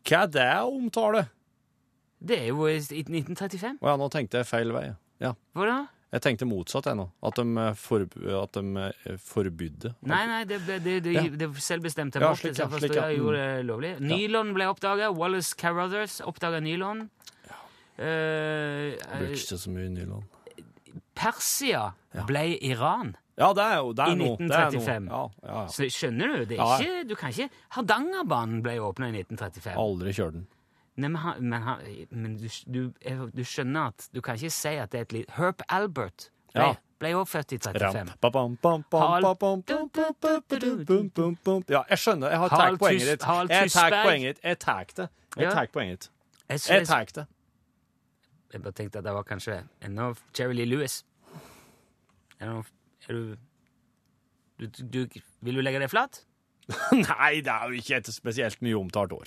Hva er det å omtale? det er jo i Å 1935. ja, nå tenkte jeg feil vei. Ja. Hva da? Jeg tenkte motsatt ennå. At de, eh, forb at de eh, forbydde. Nei, nei, det, ble- det, det, Ja. det selvbestemte Ja, abortet. slik, så ja, jeg slik, forstår ja. jeg gjorde det lovlig. Nylon ble oppdaga. Wallace Carruthers oppdaga nylon. Eh, eh, Brukte ikke så mye nylon. Persia ble Iran. Ja, det er jo det I er noe. det er noe. 1935. Ja, ja, ja. Så skjønner du? Det Ja. er ikke, du kan ikke Hardangerbanen ble åpna i 1935. Aldri kjør den. Nei, men han- men, han- men du, du, jeg- du skjønner at du kan ikke si at det er et litt Herp Albert ble, Ja. ble også født i 35. Harald- Ja, jeg skjønner. Jeg har Harald tatt poenget Tus- ditt. Harald Jeg tar Tusberg. poenget ditt. Jeg tar det. Ja. Jeg tar poenget ditt. Jeg, så- Jeg tar det. Jeg bare tenkte at det var kanskje ennå Jerry Lee Lewis. Er, det noe, er du, du, du Vil du legge deg flat? Nei, det er jo ikke et spesielt mye omtalt år.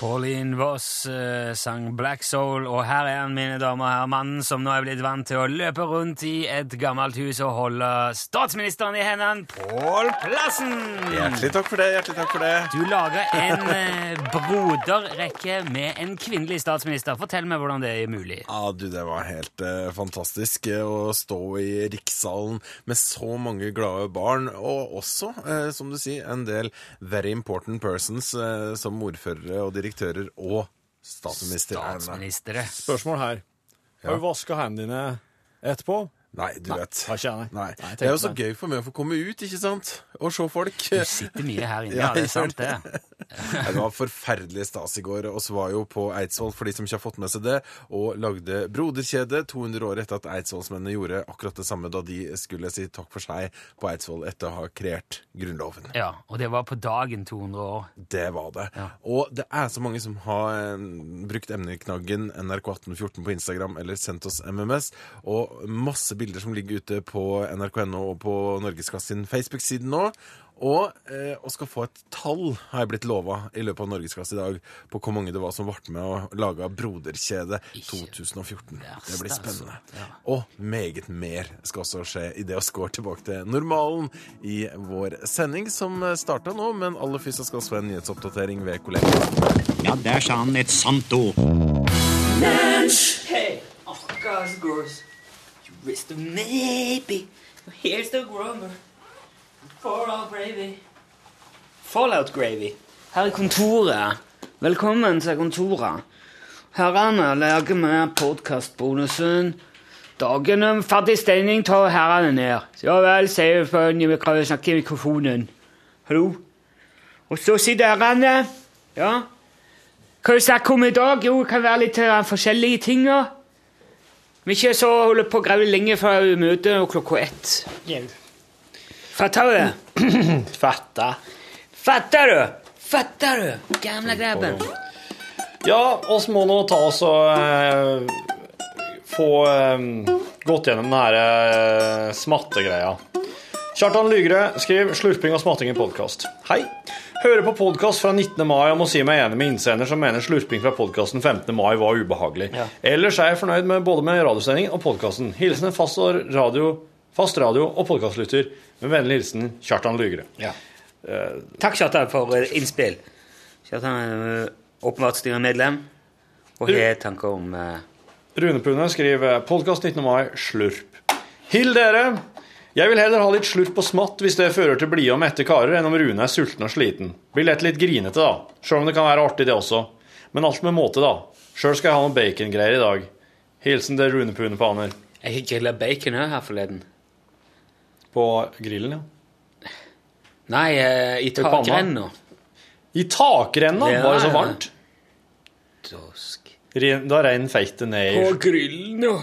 Pauline Voss eh, sang Black Soul, og her er han, mine damer og herrer, mannen som nå er blitt vant til å løpe rundt i et gammelt hus og holde statsministeren i hendene, Pål Plassen! Hjertelig takk for det. hjertelig takk for det. Du lager en eh, broderrekke med en kvinnelig statsminister. Fortell meg hvordan det er mulig. Ja, du, Det var helt eh, fantastisk eh, å stå i rikssalen med så mange glade barn, og også, eh, som du sier, en del very important persons eh, som ordførere og direktører og statsminister. Erna. Statsministre. Spørsmål her. Har du vaska hendene dine etterpå? Nei, du vet. har ikke jeg, nei. Nei. Nei, jeg Det er jo tenkte så meg. gøy for meg å få komme ut, ikke sant? Og se folk. Du sitter mye her inne, ja, Ja, det er jeg sant det. gjør Det var forferdelig stas i går. oss var jo på Eidsvoll, for de som ikke har fått med seg det, og lagde Broderkjedet 200 år etter at eidsvollsmennene gjorde akkurat det samme da de skulle si takk for seg på Eidsvoll etter å ha kreert Grunnloven. Ja, og det var på dagen 200 år. Det var det. Og det er så mange som har eh, brukt emneknaggen NRK1814 på Instagram eller sendt oss MMS, og masse bilder som ligger ute på nrk.no og på Norgeskass sin Facebook-side nå. Og, eh, og skal få et tall, har jeg blitt lova, i løpet av Norgeskass i dag, på hvor mange det var som ble med og laga Broderkjedet 2014. Det blir verst, altså. spennende. Og meget mer skal også skje idet vi går tilbake til normalen i vår sending, som starta nå, men aller først så skal vi få en nyhetsoppdatering ved kollegaen. Ja, der sa han et sant ord. Hey, oh gosh, gross. You risked a maybe. Here's the grummer. Fallout gravy. Fallout gravy. Her er kontoret. Velkommen til kontoret. Herrene lager med podkastbonusen. Dagen om ferdig stemning tar herrene ned. Ja vel, sier hun i mikro- snakker i mikrofonen. Hallo? Og så sitter herrene. Ja? Hva vi snakker om i dag? Jo, det kan være litt eh, forskjellige ting. da. Vi ikke så holder på å grave lenge før møtet og klokka ett. Fatter du det? Fatta. Fatter du? Fatter du, gamle grabben? Ja, oss må nå ta oss og eh, få eh, gått gjennom den her eh, smattegreia. Kjartan Lygre skriver 'Slurping og smatting i podkast'. Hei. Hører på podkast fra 19. mai og må si meg enig med innsender som mener slurping fra podkasten 15. mai var ubehagelig. Ellers er jeg fornøyd med både med radiosendingen og podkasten. Hilsen en fast radio, fast radio og podkastlytter. Med vennlig hilsen Kjartan Lygre. Takk, Kjartan, for eh, innspill. Kjartan er eh, åpenbart styremedlem og har tanker om eh, Rune Pune skriver podkast 19. mai, slurp. Hill dere! Jeg vil heller ha litt slurp og smatt hvis det fører til blide og mette karer, enn om Rune er sulten og sliten. Blir lett litt grinete, da. Sjøl om det kan være artig, det også. Men alt med måte, da. Sjøl skal jeg ha noen bacongreier i dag. Hilsen til Rune Pune Paner. Jeg grilla bacon òg her forleden. På grillen, ja. Nei, eh, i panna? takrenna. I takrenna Ja, var det så ja. varmt. Dorsk. Ren- Da rein feitet ned i grillen, ja.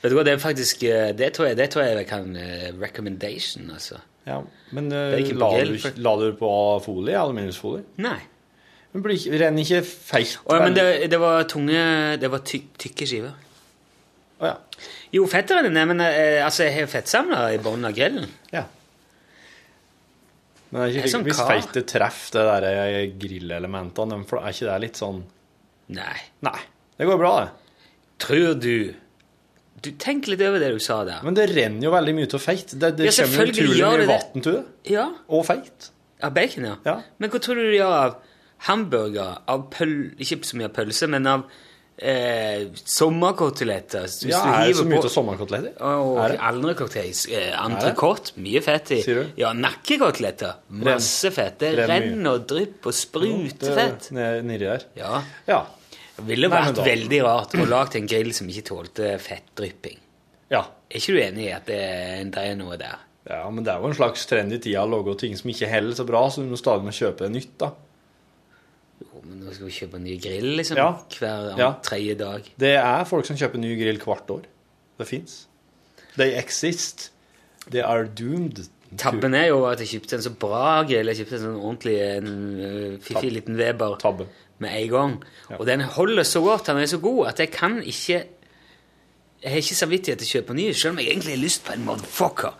Vet du hva, det er faktisk eh, Det tror jeg det tror jeg kan eh, Recommendation, altså. ja. Men eh, Bacon på la, grill, du, for- la du på folie? Aluminiumsfolie? Nei. Men blir ikke- Renner ikke feit Å, ja, men det, veldig- det var tunge Det var tyk, tykke skiver. Å, ja. Jo, fettere enn det, men eh, altså, jeg har fettsamler i bunnen av grillen. Ja. Men det er Det er ikke sånn hvis kar. feite treff, det der eh, grillelementene, men for er ikke det litt sånn Nei. Nei, det går bra, det. Tror du Du Tenk litt over det du sa der. Men det renner jo veldig mye til feit. Det, det Ja, kommer jo selvfølgelig utrolig gjør mye det det. vann til det. Ja, Og feit. Av bacon, ja. Ja. Men hva tror du de gjør av hamburger, av pøl... Ikke så mye av pølse, men av eh, sommerkoteletter? Hvis Ja, er du det hiver så mye på- til sommerkoteletter? Og Er det? andrekoteletter. Eh, Entrecôte, mye fett i. Sier du? Ja, nakkekoteletter. Masse fett. Det Renn mye. renner og drypper og Det spruter er fett. eh, ned- Nedi der. Ja. Ja. Det ville Nei, men vært da- veldig rart å lage en grill som ikke tålte fettdrypping. ja. Er ikke du enig i at det, det er noe der? Ja, men det er jo en slags trend i tida å lage ting som ikke holder så bra, så du må stadig må kjøpe det nytt, da. Jo, men nå skal vi kjøpe en ny grill liksom, Ja. hver Ja. tredje dag. Det er folk som kjøper ny grill hvert år. Det fins. They exist. They are doomed. Tabben er jo at jeg kjøpte en så bra grill. Jeg kjøpte en sånn ordentlig en, øh, fiffig Tabbe. liten Weber Tabbe. med en gang. Og den holder så godt, den er så god, at jeg kan ikke Jeg har ikke samvittighet til å kjøpe ny, selv om jeg egentlig har lyst på en motherfucker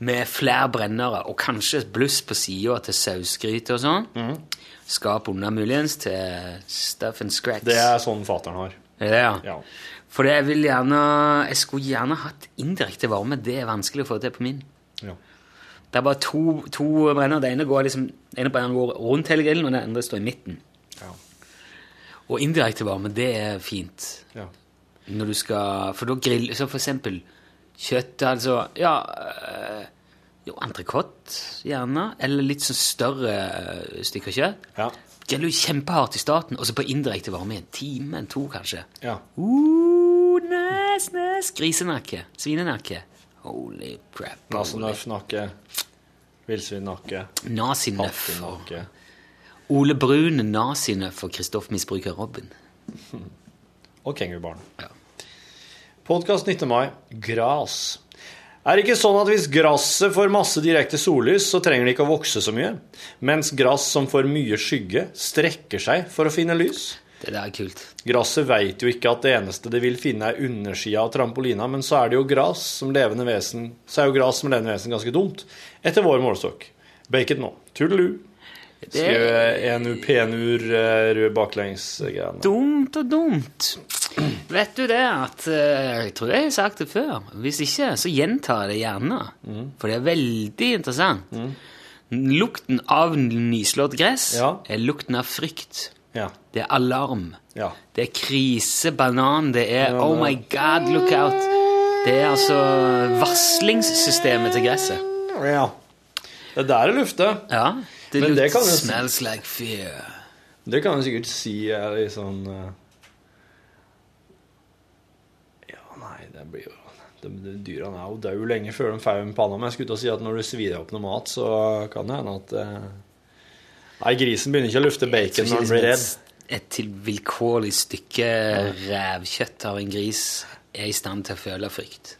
med flere brennere og kanskje et bluss på sida til sausgryte og sånn. Mhm. Skap unna muligens til stuff and scratch. Det er sånn fateren har. Er det, ja. Ja. For jeg vil gjerne Jeg skulle gjerne hatt indirekte varme. Det er vanskelig å få til på min. Ja. Det er bare to, to brenner. Den ene går, liksom, den ene brenneren går rundt hele grillen, og den andre står i midten. Ja. Og indirekte varme, det er fint. Ja. Når du skal For da grill Så for eksempel kjøtt, altså Ja øh, Jo, entrecôte, gjerne. Eller litt sånn større øh, stykker kjøtt. Ja. Griller jo kjempehardt i starten, og så på indirekte varme i en time, en to kanskje. Ja. Uh, næs, næs. Grisenakke. Svinenakke. Holy crap. Altså, Nasenøff-nakke. Villsvinnakke. Nazinøff. Nakke. Ole Brun, nazinøff og Kristoff-misbruker Robin. Og kengurubarn. Ja. Podkast 19. mai. Gras. Er det ikke sånn at hvis gresset får masse direkte sollys, så trenger det ikke å vokse så mye? Mens gress som får mye skygge, strekker seg for å finne lys? Det der er kult. Gresset veit jo ikke at det eneste det vil finne, er undersida av trampolina, men så er det jo gras som levende vesen Så er jo gras som levende vesen ganske dumt, etter vår målestokk. Bake it nå. Tudelu. Skriv enu penur eh, rød baklengs-greiene. Dumt og dumt. Vet du det at eh, Jeg tror jeg har sagt det før. Hvis ikke, så gjenta det gjerne. For det er veldig interessant. Lukten av nyslått gress Ja. er lukten av frykt. Ja. Det er alarm. Ja. Det er krisebanan. Det er oh my god, look out. Det er altså varslingssystemet til gresset. ja. Det er der det lufter. Ja. Det Men det lukter kan jo- smells like fear. Det kan jeg sikkert si er litt sånn eh, Ja, nei, det blir jo de, de Dyra er jo døde lenge før de får dem i panna. Men jeg skulle til å si at når du svir deg opp noe mat, så kan det hende at eh, Nei, grisen begynner ikke å lufte bacon når den blir redd. Et til vilkårlig stykke rævkjøtt av en gris er i stand til å føle frykt.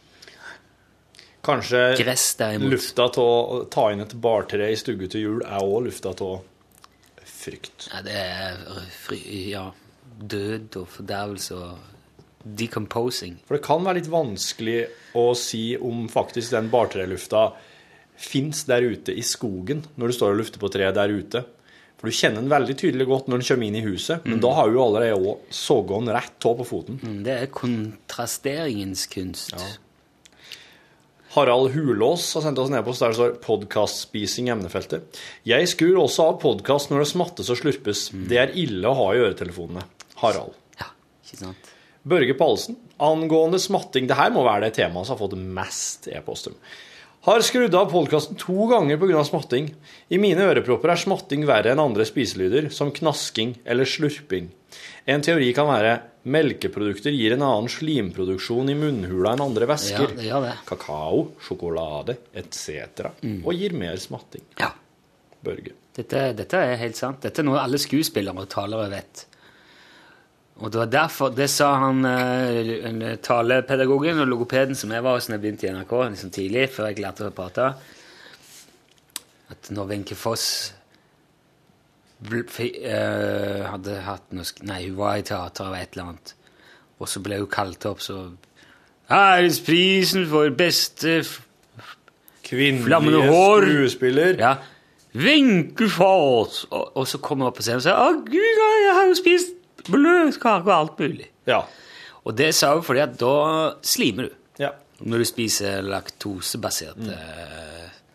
Kanskje Gress derimot. lufta til å ta inn et bartre i stugu til jul er òg lufta til frykt. Ja, det er fry, ja, død og fordervelse og decomposing. For det kan være litt vanskelig å si om faktisk den bartrelufta fins der ute i skogen, når du står og lufter på treet der ute. For du kjenner den veldig tydelig godt når den kommer inn i huset, men da har du allerede også såget den rett av på foten. Mm, Det er kontrasteringens kunst. Harald Hulås har sendt oss en e-post der det står 'podkastspising' i emnefeltet. Jeg skrur også av podkast når det smattes og slurpes. Det er ille å ha i øretelefonene. Harald. Ja, ikke sant? Børge Palsen, angående smatting Det her må være det temaet som har fått mest e-post. om. Har skrudd av podkasten to ganger pga. smatting. I mine ørepropper er smatting verre enn andre spiselyder, som knasking eller slurping. En teori kan være melkeprodukter gir en annen slimproduksjon i munnhula enn andre væsker. Ja, Mm. det gjør det. Kakao, sjokolade etc. Og gir mer smatting. Ja. Børge. Dette, dette er helt sant. Dette er noe alle skuespillere og talere vet. Og det var derfor, det sa han eh, talepedagogen og logopeden som jeg var hos da jeg begynte i NRK liksom tidlig, før jeg lærte å prate, at når Wenche Foss bl- fi- eh, hadde hatt noe sk- Nei, hun var i teater av et eller annet, og så ble hun kalt opp, så Æresprisen for beste f- Flammende hår. skuespiller. Ja. Vinkefors! Og, og så kommer hun opp på scenen og sier 'Å, gud, jeg har jo spist bløtkake og alt mulig'. Ja. Og det sa hun fordi at da slimer du ja. når du spiser laktosebaserte eh,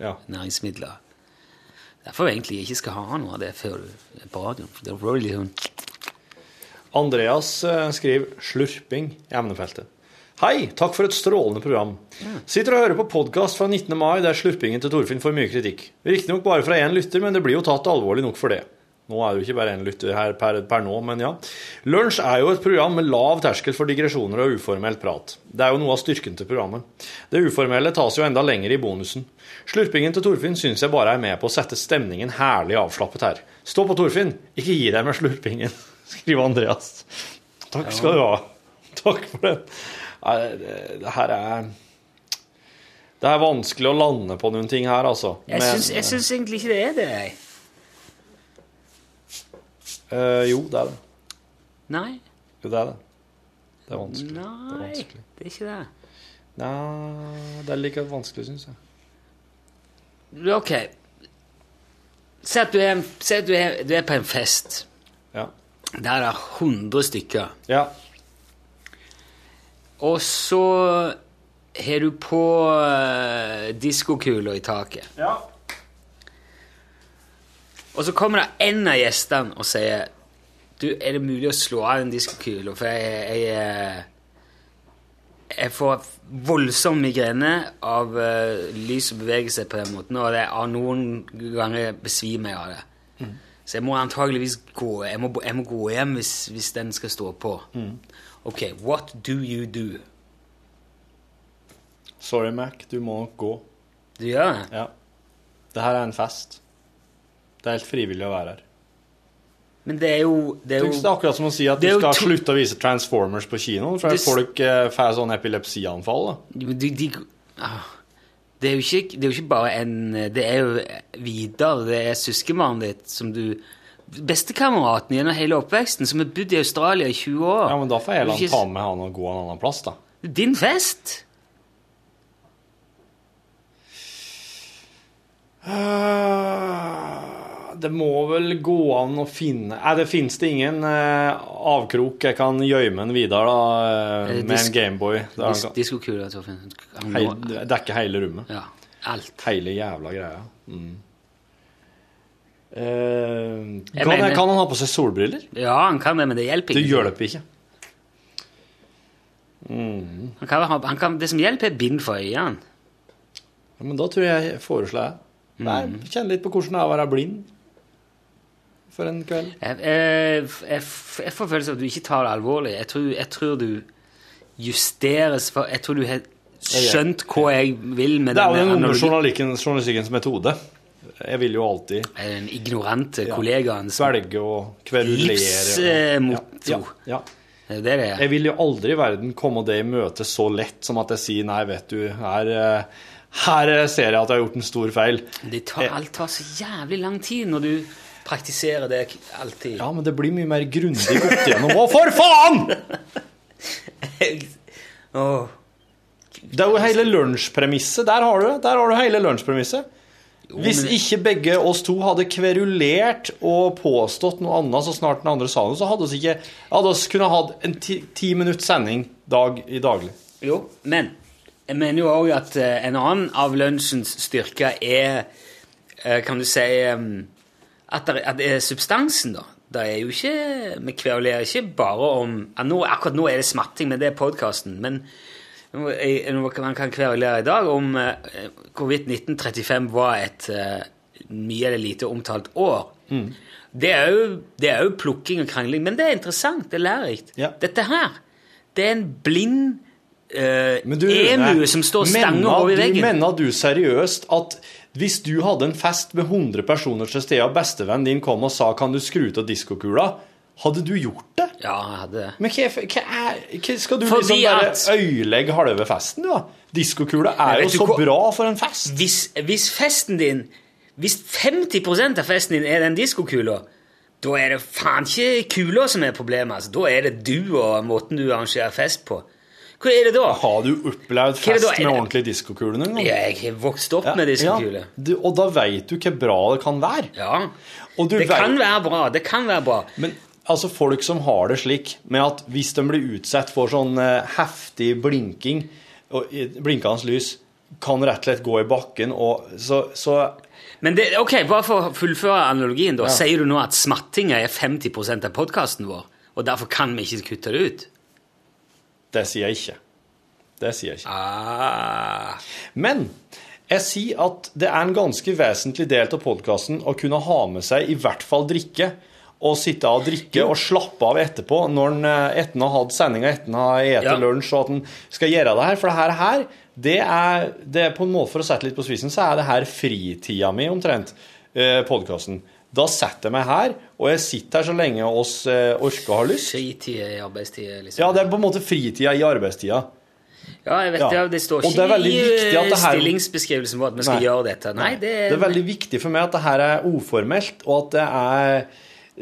Mm. Ja. næringsmidler. Derfor egentlig ikke skal ha noe av det før du er på radioen. for Det er really sånn Andreas eh, skriver 'slurping' i emnefeltet. Hei, takk for et strålende program. Sitter og hører på podkast fra 19. mai der slurpingen til Torfinn får mye kritikk. Riktignok bare fra én lytter, men det blir jo tatt alvorlig nok for det. Nå er det jo ikke bare én lytter her per, per nå, men ja. Lunsj er jo et program med lav terskel for digresjoner og uformell prat. Det er jo noe av styrken til programmet. Det uformelle tas jo enda lenger i bonusen. Slurpingen til Torfinn syns jeg bare er med på å sette stemningen herlig avslappet her. Stå på, Torfinn! Ikke gi deg med slurpingen, skriver Andreas. Takk skal du ha. Takk for det. Nei, det, det her er Det er vanskelig å lande på noen ting her, altså. Jeg syns- Jeg syns egentlig ikke det er det, jeg. eh, Jo, det er det. Nei. Jo, det er det. Det er vanskelig. Det er Nei, vanskelig. det er ikke det. Nei, det er like vanskelig, syns jeg. Ok. Si at du er, si at du er, du er på en fest. Ja. Der er det 100 stykker. ja. Og så har du på uh, diskokula i taket. ja. Og så kommer det en av gjestene og sier Du, er det mulig å slå av den diskokula? For jeg, jeg, eh, jeg får voldsom migrene av eh, lys og bevegelse på den måten, og det, av noen ganger besvimer jeg av det. Så jeg må antageligvis gå, jeg må, jeg må gå hjem hvis, hvis den skal stå på. Ok, what do you do? Sorry, Mac, du må gå. Du gjør det? Ja. Det her er en fest. Det er helt frivillig å være her. Men det er jo, det er Det jo er akkurat som å si at Det du er jo skal to- slutte å vise Transformers på kinoen, for Det s- folk eh, får sånn epilepsianfall. da. de, de, ah, det, er jo ikke, det er jo ikke bare en Det er jo Vidar, det er søskenbarnet ditt, som du Bestekameraten gjennom hele oppveksten, som har bodd i Australia i 20 år. Ja, men da får jeg la Det er han ikke- ta med han og gå en annen plass, da. Din fest! Eh, Det må vel gå an å finne Nei, det fins det ingen eh, avkrok jeg kan gjemme en Vidar da, eh, Eh, med disk- en Gameboy. Det, Dis- Diskokula, Torfinn. Han må- det dekker hele rommet. Ja. Alt. Hele jævla greia. Mm. Eh, Jeg kan, mener- kan han ha på seg solbriller? Ja, han kan det, men det hjelper Det ikke. hjelper ikke. Han kan, ha- han kan, det som hjelper, er bind for øynene. Ja, men da tror jeg jeg foreslår jeg. Mm. Nei, Kjenn litt på hvordan det er å være blind for en kveld. Jeg, jeg, jeg, jeg får følelsen av at du ikke tar det alvorlig. Jeg tror, jeg tror du justeres for Jeg tror du har skjønt hva jeg vil med Det er jo den denne unge analogien. journalistikkens, journalistikkens metode. Jeg vil jo alltid Eh, Den ignorante kollegaen som svelge og kverulere. eh, Livsmotto. Ja, ja, ja. Det er det det er. Jeg vil jo aldri i verden komme det i møte så lett som at jeg sier nei, vet du, her, eh, her eh, ser jeg at jeg har gjort en stor feil. Det tar, alt tar så jævlig lang tid når du praktiserer det alltid. Ja, men det blir mye mer grundig gått gjennom. Å, for faen! Åh. Det er jo hele lunsjpremisset. Der har du det. Der har du hele lunsjpremisset. Hvis men- ikke begge oss to hadde kverulert og påstått noe annet så snart den andre sa noe, så hadde oss ikke hadde oss kunne hatt en ti, ti minutts sending dag i daglig. Jo, men jeg mener jo òg at eh, en annen av lunsjens styrker er eh, Kan du si em, at det, at det er substansen, da. Det er jo ikke, Vi kverulerer ikke bare om ja, nå, Akkurat nå er det smatting, men det er podkasten. Men nå er- nå kan- man kan kverulere i dag om eh, hvorvidt 1935 var et eh, mye eller lite omtalt år. Det er, jo, det er jo plukking og krangling, men det er interessant. Det er lærerikt. Ja. Dette her, det er en blind eh, Men du, emu Rune, som står og stanger mener over du- veggen. Mener du seriøst at hvis du hadde en fest med 100 personer til stede, og bestevennen din kom og sa 'kan du skru ut av diskokula', hadde du gjort det? Ja, jeg hadde det. Men hva, hva er, hva skal du Fordi liksom bare at- øyelegge halve festen, da? Diskokula er Men jo vet du så hva- bra for en fest. Hvis, hvis festen din Hvis 50 av festen din er den diskokula, da er det faen ikke kula som er problemet. Altså. Da er det du og måten du arrangerer fest på. Hva er det da? Har du opplevd Hva er fest det da? med Er det- ordentlig diskokule noen gang? Ja, jeg har vokst opp med diskokule. Ja, du- og da veit du hvor bra det kan være. Ja. Og du Det kan vet- være bra. Det kan være bra. Men altså, folk som har det slik med at hvis de blir utsatt for sånn eh, heftig blinking, og i- blinkende lys, kan rett og slett gå i bakken, og så, så Men det, ok, bare for å fullføre analogien, da. Sier du nå at smattinga er 50 av podkasten vår, og derfor kan vi ikke kutte det ut? Det sier jeg ikke. Det sier jeg ikke. Ah. Men jeg sier at det er en ganske vesentlig del av podkasten å kunne ha med seg i hvert fall drikke. Og sitte og drikke og slappe av etterpå, når en eh, etter en har hatt sendinga, etter en har spist Ja. lunsj, og at en skal gjøre det her. For det her, her det, er, det er på en måte For å sette litt på spissen, så er det her fritida mi, omtrent. Eh, podkasten. Da setter jeg meg her, og jeg sitter her så lenge oss eh, orker og har lyst. Skit i arbeidstid, liksom. Ja, det er på en måte fritida i arbeidstida. Ja, jeg vet Ja. det. Det står Og det er ikke veldig i viktig at eh, det her- stillingsbeskrivelsen vår at vi skal Nei. gjøre dette. Nei, det Det er veldig viktig for meg at det her er uformelt, og at det er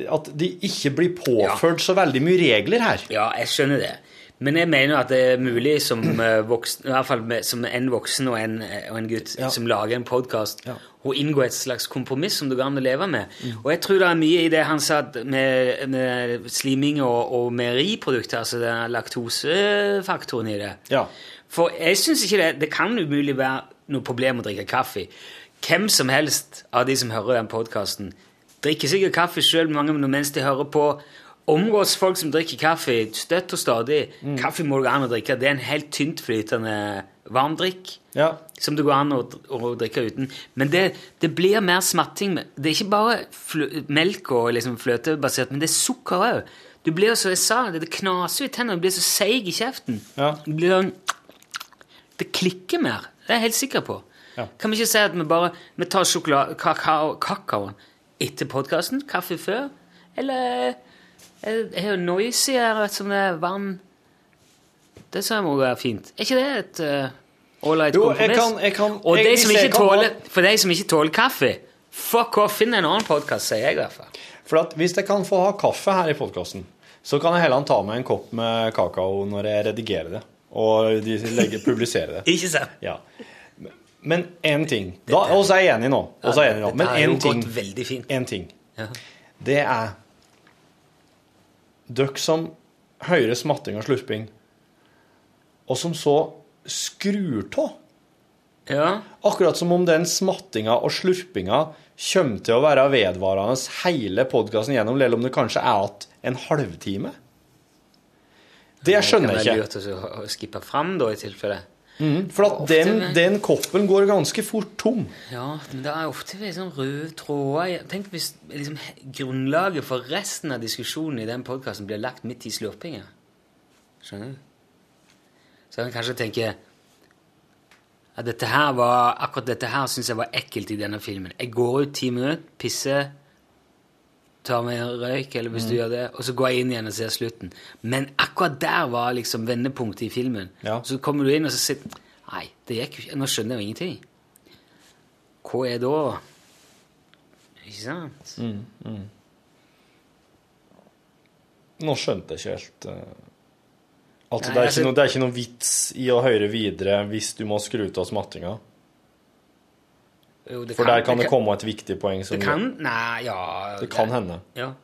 at de ikke blir påført så veldig mye regler her. Ja, jeg skjønner det. Men jeg mener at det er mulig som, eh, voksen, i hvert fall med, som en voksen og en, eh, og en gutt som lager en podkast, å inngå et slags kompromiss som det går an å leve med. Mm. Og jeg tror det er mye i det han sa at med, med sliming og, og meieriprodukter, altså den laktosefaktoren i det. Ja. For jeg synes ikke det Det kan umulig være noe problem å drikke kaffe. Hvem som helst av de som hører den podkasten, drikker sikkert kaffe sjøl mens de hører på, omgås folk som drikker kaffe støtt og stadig. Kaffe må det gå an å drikke. Det er en helt tyntflytende varmdrikk Ja. som det går an å, å drikke uten. Men det, det blir mer smatting. Det er ikke bare flø, melk og liksom fløtebasert, men det er sukker òg. Du blir jo så, jeg sa det, det knaser i tennene, du blir så seig i kjeften. Ja. Du blir sånn det klikker mer. Det er jeg helt sikker på. Ja. Kan vi ikke si at vi bare vi tar sjokolade, kakao, kakaoen etter podkasten? Kaffe før? Eller er er jo noisy her vet, som det er vann Det som må være fint. Er ikke det et eh, ålreit Jo, kompromiss? jeg kan- jeg kan- Og de jeg- som jeg ikke kan ha- tåler, for de som ikke tåler kaffe, fuck off, finn en annen podkast, sier jeg i hvert fall. For at hvis jeg kan få ha kaffe her i podkasten, så kan jeg heller ta meg en kopp med kakao når jeg redigerer det, og de legger, publiserer det. Ikke sant? Ja. Men én ting da, Og så er jeg enig nå. Og så er jeg enig nå. Men Dette har én jo ting, gått veldig fint. en ting. Ja. Det er Dere som hører smatting og slurping, og som så skrur av. ja. Akkurat som om den smattinga og slurpinga kommer til å være vedvarende hele podkasten gjennom, eller om det kanskje er at en halvtime. Det skjønner Det jeg ikke. Mm. kan være lurt å- å skippe fram, da, i tilfelle. For at den, den koppen går ganske fort tom. Ja, men det er ofte veldig sånn røde tråder. i- Tenk hvis liksom, grunnlaget for resten av diskusjonen i den podkasten blir lagt midt i slurpinga. Skjønner du? Så kan man kanskje tenke at dette her var, akkurat dette her syns jeg var ekkelt i denne filmen. Jeg går ut ti minutter, pisser, tar meg en røyk, eller hvis du gjør det, og så går jeg inn igjen og ser slutten. Men akkurat der var liksom vendepunktet i filmen. Ja. Så kommer du inn, og så sitter Nei, det gikk jo ikke. Nå skjønner jeg jo ingenting. Hva er da? Ikke sant? Mm. Nå skjønte jeg ikke helt eh, At Nei, det, er altså- ikke noe, det er ikke noe vits i å høre videre hvis du må skru av smattinga. Jo, det For der kan det komme et viktig poeng som Det kan, nei, ja Det kan hende. Ja.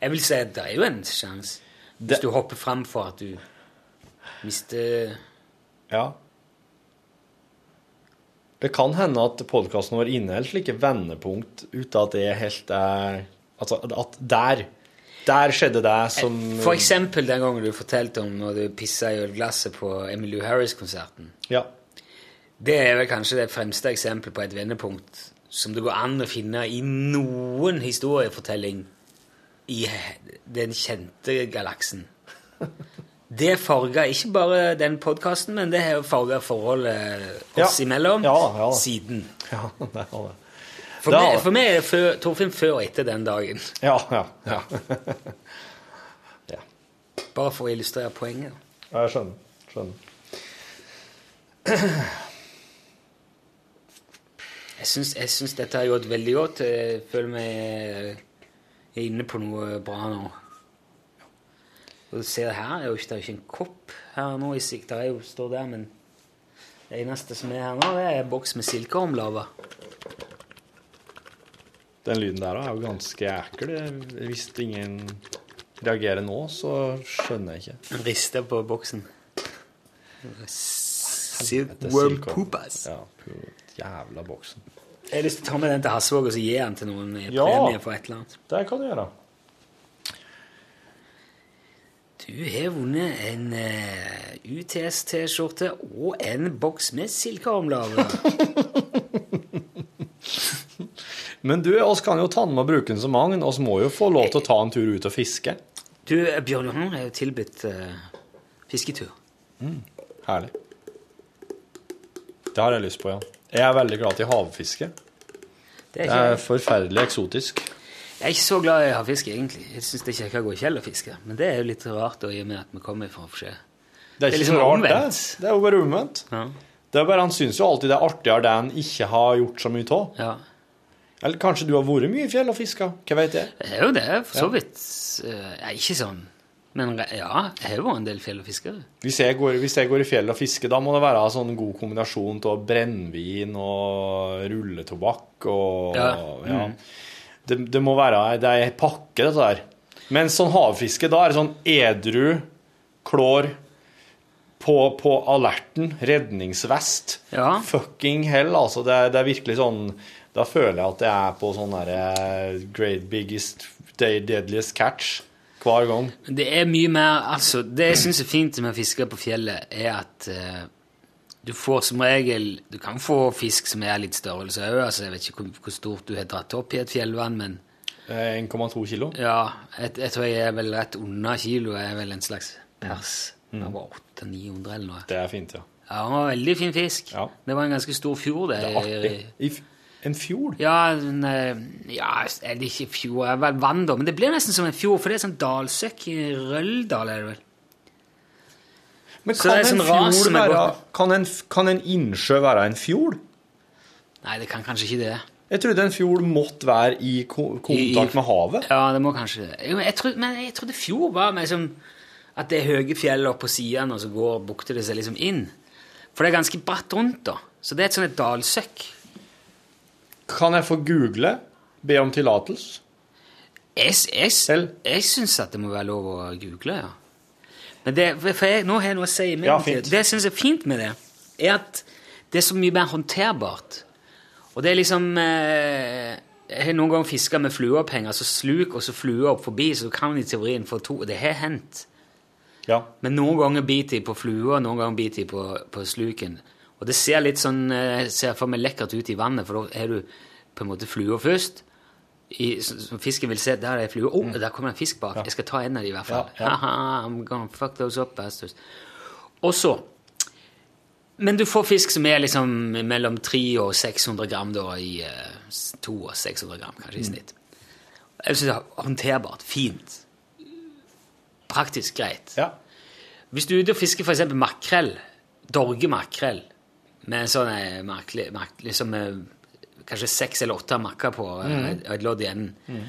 Jeg vil si at det er jo en sjanse. Hvis Det- du hopper frem for at du mister Ja. Det kan hende at podkasten vår inneholder slike vendepunkt uten at det helt er Altså at der Der skjedde det som Eh, For eksempel den gangen du fortalte om når du pissa i ølglasset på Emmylou Harris-konserten. Ja. Det er vel kanskje det fremste eksempelet på et vendepunkt som det går an å finne i noen historiefortelling i he- den kjente galaksen. Det farga ikke bare den podkasten, men det har farga forholdet oss Ja. imellom Ja, ja. siden. Ja, det var det. For, Det har meg, det. for meg er det før, Torfinn før og etter den dagen. Ja, ja. ja. Bare for å illustrere poenget. Ja, Jeg skjønner. skjønner. Jeg syns, jeg syns dette har gjort veldig godt. Jeg føler meg eh, er inne på noe bra nå. Og du ser her, er jo ikke, det er jo ikke en kopp her nå i sikt. Det er jo står der, men det eneste som er her nå, det er en boks med silkeormlava. Den lyden der også er jo ganske ekkel. Hvis ingen reagerer nå, så skjønner jeg ikke. Den rister på boksen. Dette er Silkworm silkeorm. poopas. Ja, pu- jævla boksen. Jeg har lyst til å ta med den til Hasvåg og så gi den til noen i Ja. premie for et eller annet. Det kan du gjøre. Du har vunnet en eh, UTS-T-skjorte og en boks med silkeormlava. Men du, oss kan jo tanne med å bruke den så mange. Oss må jo få lov til å ta en tur ut og fiske. Du, eh, Bjørn Johan er jo tilbudt eh, fisketur. Herlig. Det har jeg lyst på, ja. Jeg er veldig glad til havfiske. Det er Det er ikke, forferdelig eksotisk. jeg er ikke så glad i havfiske, egentlig. Jeg syns det er kjekkere å gå i fjell og fiske. Men det er jo litt rart, da, i og med at vi kommer fra Forsjø. Det er Det er ikke liksom så rart, det. omvendt. Det er jo bare omvendt. Ja. Det er bare, Han syns jo alltid det er artigere det han ikke har gjort så mye av. ja. Eller kanskje du har vært mye i fjell og fiska? Hva vet jeg? Det er jo det, for så vidt. Eh, jeg er ikke sånn. Men re- ja, jeg har jo vært en del fjell- og fiskere. Hvis jeg, går, hvis jeg går i fjellet og fisker, da må det være en sånn god kombinasjon av brennevin og rulletobakk og Ja. Mm. Det, det må være Det er en pakke, dette der. Men sånn havfiske, da er det sånn edru, klår, på, på alerten, redningsvest. Ja. Fucking hell, altså. Det er, det er virkelig sånn Da eh, føler jeg at jeg er på sånn derre Great biggest, deadliest catch. hver gang. Det er mye mer Altså, det jeg syns er fint med å fiske på fjellet, er at eh, du får som regel Du kan få fisk som er litt størrelse òg. Altså, jeg vet ikke hvor, hvor stort du har dratt opp i et fjellvann, men Eh, 1,2 kilo. ja, jeg, jeg tror jeg er vel rett under kiloet. Jeg er vel en slags pers. Mm. Det var 800-900 eller noe. Det er fint, ja. Ja, det var veldig fin fisk. Ja. Det var en ganske stor fjord, det. Det er artig. I f en fjord? Ja, en, eh, ja, er det ikke fjord? Det er vel vann, da. Men det blir nesten som en fjord, for det er sånn dalsøkk i Røldal, er det vel? Men Så det kan er en sånn ras fjord som er være godt. kan en, f- kan en innsjø være en fjord? Nei, det kan kanskje ikke det. Jeg trodde en fjord måtte være i ko kontakt med havet. Ja, det må kanskje det. Jo, Jeg trodde, men jeg trodde fjor var mer som at det er høye fjell opp på sidene, og så går bukter det seg liksom inn. For det er ganske bratt rundt, da. Så det er et sånt et dalsøkk. Kan jeg få google? Be om tillatelse? Jeg, s- jeg, s- Selv? jeg syns at det må være lov å google, ja. Men det, for jeg, nå har jeg noe å si i Ja, mellomtiden. fint. Det jeg syns er fint med det, er at det er så mye mer håndterbart. Og det er liksom eh, Jeg har noen ganger fiska med flueopphenger, så sluk og så flue opp forbi, så du kan i teorien få to. Det har hendt. Ja. Men noen ganger biter de på flua, noen ganger biter de på, på sluken. Og det ser litt sånn, eh, ser for meg lekkert ut i vannet, for da har du på en måte flua først. I, så, så fisken vil se, der er flua. Å, der kommer en fisk bak. Jeg skal ta en av de i hvert fall. Mm. Ja, ja. Haha, I'm gonna fuck those up, bastards. Og så, men du får fisk som er liksom mellom 300 og 600 gram da, i eh, s- to og 600 gram kanskje i Mm. snitt. Jeg synes det er håndterbart, fint, praktisk greit. ja. Hvis du er ute og fisker f.eks. makrell, dorgemakrell, med en sånn eh, merkelig, merkelig som eh, kanskje seks eller åtte makker på eh, Mm. et- et lodd i enden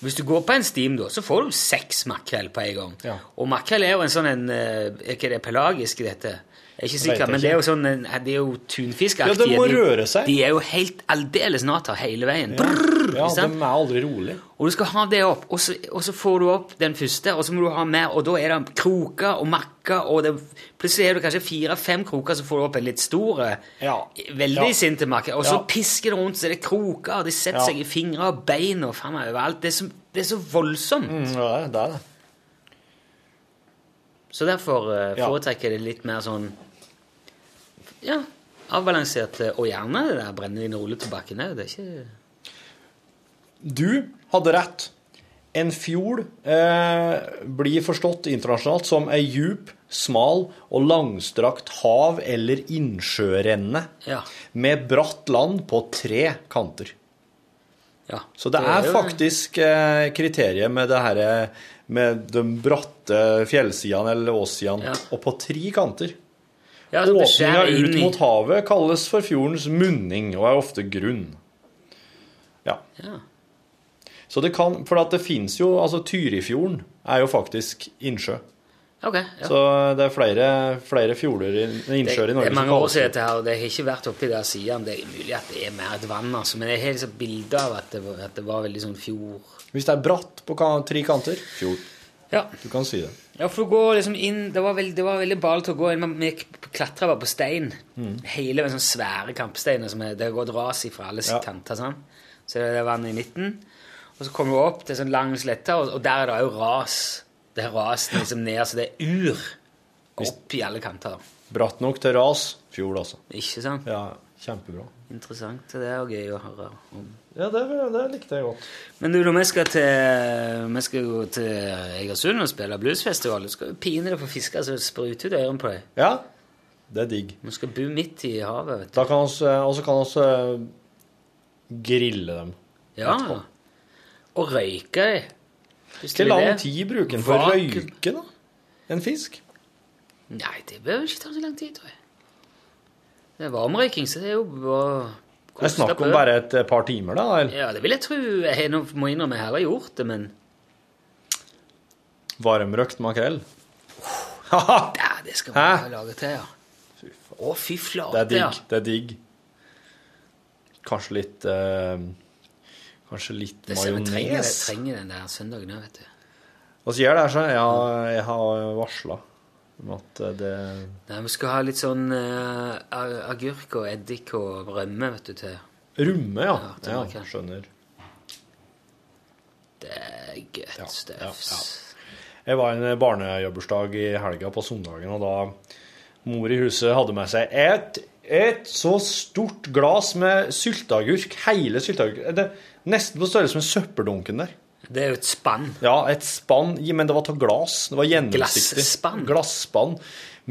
Hvis du går på en stim, da, så får du seks makrell på en gang. Ja. Og makrell er jo en sånn en eh, Er ikke det pelagisk, dette? Jeg er ikke vet jeg sikker, men det er jo sånn en, det er jo tunfiskaktig. Ja, det må røre seg. De er jo helt aldeles nata hele veien. Ja, Brrr, ja ikke sant? de er aldri rolig. Og du skal ha det opp, og så, og så får du opp den første, og så må du ha mer, og da er det kroker og makker, og det, plutselig er det kanskje fire-fem kroker, så får du opp en litt stor, Ja. veldig Ja. sinte makke, og så Ja. pisker det rundt, så er det kroker, og de setter Ja. seg i fingre og bein og faen meg overalt. Det er så, det er så voldsomt. Mm, ja, det er det. er det. Så derfor eh, Ja. foretrekker jeg det litt mer sånn Ja, avbalansert, eh, og gjerne det der brennevin og rulletilbake ned. Det er ikke Du hadde rett. En fjord eh, blir forstått internasjonalt som ei djup, smal og langstrakt hav- eller innsjørenne Ja. med bratt land på tre kanter. Ja. Så det er jo- faktisk eh, kriteriet med det herre med de bratte fjellsidene eller åssidene, Ja. og på tre kanter. ja, så det skjer Åpninga ut inn i- mot havet kalles for fjordens munning og er ofte grunn. Ja. Ja. Så det kan, for at det finnes jo, altså Tyrifjorden er jo faktisk innsjø. Ok. Ja. Så det er flere, flere fjorder i, innsjøer i Det Norge er mange kalles år siden dette her, og det har ikke vært oppi der siden. Det er mulig at det er mer et vann, altså. Men jeg har liksom bilder av at det, var, at det var veldig sånn fjord Hvis det er bratt på kan, tre kanter, fjord. Ja, Du kan si det. ja for du går liksom inn Det var, veld, det var veldig balt å gå inn. men Vi klatra bare på stein. Mm. Hele med sånne svære kampsteiner som er, det har gått ras i fra alle Ja. kanter. sånn. Så det er det vannet i midten. Og så kommer du opp til sånn lang slette, og, og der er det jo ras. Det er ras liksom ned, så det er ur opp i alle kanter. Bratt nok til ras, fjord altså. Ikke sant? Ja, kjempebra. Interessant. Det er jo gøy å høre om. Ja, det, det likte jeg godt. Men du, når vi skal til, vi skal gå til Egersund og spille bluesfestival, du skal jo pine deg for fisker så det spruter ut ørene på deg. Ja, det er digg. Vi skal bo midt i havet, vet du. Da kan oss, eh, også kan oss eh, grille dem. Ja. Og røyke deg. Hvis du Hvor vil lang det. tid bruker en for å Vak- røyke, da? En fisk? Nei, det behøver ikke ta så lang tid, tror jeg. Det er varmrøyking, så det er jo bare Det er koste snakk på. om bare et eh, par timer, da? Eller? Ja, det vil jeg tro. Jeg har nå- må innrømme jeg har aldri gjort det, men Varmrøkt makrell? Haha! ja, det skal Hæ? vi lage til, ja. Å, fy Det flate, er digg. ja. Det er digg. Kanskje litt eh, Kanskje litt Det ser vi trenger, majones. trenger den der søndagen òg, vet du. Hva sier det her, så? Jeg har, jeg har varsla om at eh, det Nei, vi skal ha litt sånn eh, a- agurk og eddik og rømme, vet du, til. Rumme, ja. Ja, til ja makrell. skjønner. Det er godt Ja, ja, stuffs. Jeg var i en barnejobbursdag i helga på søndagen, og da mor i huset hadde med seg et, et så stort glass med sylteagurk, hele sylteagurk Det er Nesten på størrelse med søppeldunken der. Det er jo et spann. Ja, et spann, i- men det var av glass. Det var gjennomsiktig. Glasspann. Glasspann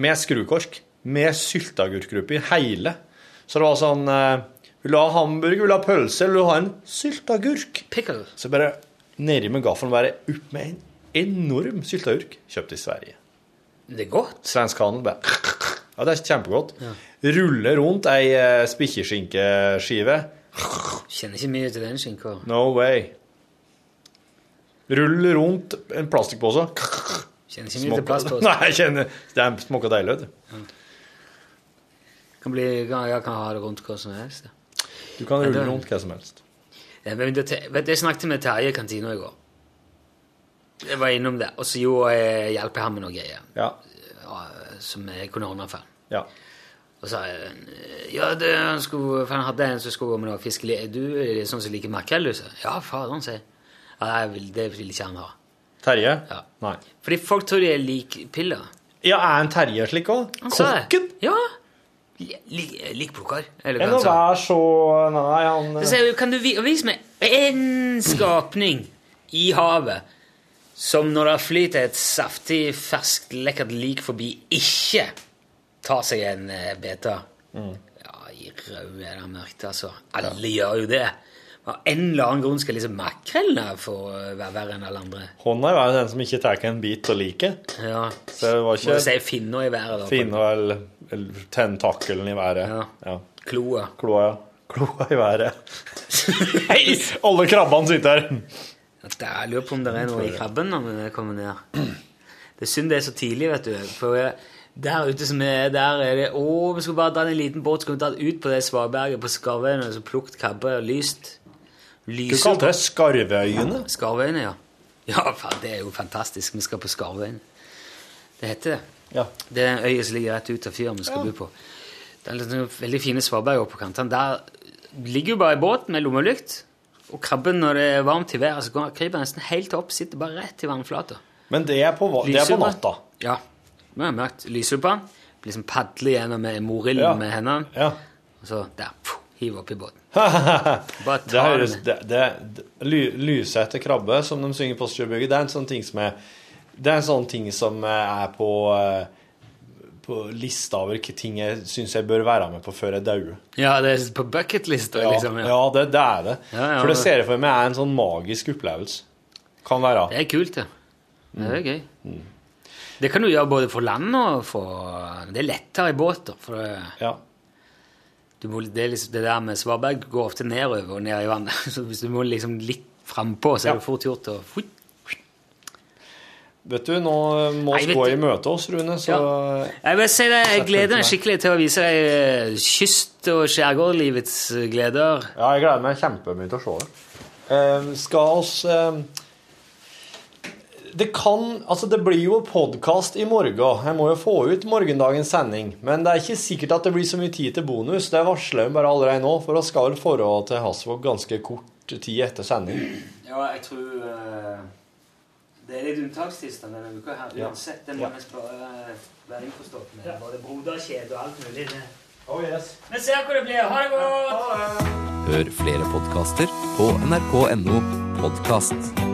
med skrukork. Med sylteagurkgruppe i hele. Så det var sånn eh, Vil du ha hamburger, vil du ha pølse, eller vil du ha en sylteagurk? Pickle. Så bare nedi med gaffelen, bare opp med en enorm sylteagurk. Kjøpt i Sverige. Det er godt. Svensk handel bare Ja, det er kjempegodt. Rulle rundt ei eh, spikkeskinkeskive. Kjenner ikke mye til den skinka. No way. Rull rundt en plastikkpose. Kjenner ikke mye til plastpose. Nei, jeg kjenner Det smaker deilig, vet du. Kan bli, kan, jeg kan ha det rundt hva som helst. ja. Du kan det rulle er- rundt hva som helst. Ja, men det, vet, du, jeg snakket med Terje i kantina i går. Jeg var innom det. Og så jo, eh, hjalp jeg ham med noe greier Ja. ja, som jeg kunne ordne for ham. ja. Og sa jeg, "Eh, ja, det, han skulle, for han hadde en som skulle gå med noe fiskelig. Er du er det sånn som liker makrell? du?» sa jeg. Ja, faderen, sier jeg. Ja, nei, jeg vil, det vil ikke han ha. Terje? Ja. Nei. Fordi folk tror de er lik piller. Ja, er en Terje slik òg? Han sa det. Kokken? Ja. Li- Lik, lik plukker. Eller hva Enn å han sa. være så Nei, han Så sier jeg, kan du vi- vise meg én skapning i havet som når det flyter et saftig, ferskt, lekkert lik forbi, ikke tar seg en eh, bete? Ja, i rød er det mørkt, altså. Alle gjør jo det. Av en eller annen grunn skal liksom makrellene få eh, være verre enn alle andre. Hånda er jo den som ikke tar en bit av liket. Ja. Så det var Må du ikke si finna i været, da. finne vel eller tentakkelen i været. Ja. Ja. Kloa. Kloa, ja. Kloa i været. Hei! Alle krabbene sitter her. At det- Jeg lurer på om det er noe i krabben når vi kommer ned. Det er synd det er så tidlig, vet du. For eh, der ute som er, der er det Å, vi skulle bare dratt en liten båt, skulle vi tatt ut på det svaberget på Skarvøyene og så plukket krabbe og lyst. Du Lyse kalte det Skarveøyene. Skarvøyene, ja. Ja, faen, det er jo fantastisk. Vi skal på Skarvøyene. Det heter det. Ja. Det er en øy som ligger rett ut av fyren vi skal bo på. Det er liksom veldig fine svaberg oppe på kantene. Der ligger jo bare i båt med lommelykt, og krabben når det er varmt i været, så går- kryper den nesten helt opp, sitter bare rett i vannflata. Men det er på, va- det er på Lyser natta. Ja. Nå er det mørkt. Lyser på den, liksom padler gjennom med morillen Ja. med hendene, Ja. og så der, pff, hiver opp i båten. Bare Det ta høres den. det, det, det, ly, Lyse etter krabbe, som de synger på Sjøbygget, det er en sånn ting som er Det er en sånn ting som er på eh, På lista over hva ting jeg syns jeg bør være med på før jeg dauer. Ja, det er på bucketlista, Ja, liksom. ja det, det er det. Ja, ja, for det det- ser jeg for meg er en sånn magisk opplevelse. Kan være. Det er kult, det. Det er gøy. Mm. Det kan du gjøre både for land og for Det er lettere i båt, da. For det, Ja. du må, det, er liksom, det der med svaberg går ofte nedover og ned i vannet. Så hvis du må liksom litt frampå, så er Ja. det fort gjort å Fui. Vet du, nå må Nei, vi vet gå du- i møte oss, Rune, så Ja. Jeg vil si det, jeg gleder meg skikkelig til å vise deg eh, kyst- og skjærgårdlivets eh, gleder. Ja, jeg gleder meg kjempemye til å se det. Eh, skal oss eh, Det kan Altså, det blir jo podkast i morgen. Jeg må jo få ut morgendagens sending. Men det er ikke sikkert at det blir så mye tid til bonus. Det varsler jeg bare allerede nå, for vi skal vel forå til Hasvåg ganske kort tid etter sending. Ja, jeg tror eh, Det er litt unntakstilstand denne uka her uansett. Det må vi bare være innforstått med. Både broderkjede og alt mulig. Oh, yes. Vi ser hvor det blir. Ha det godt! Hør flere podkaster på nrk.no podkast.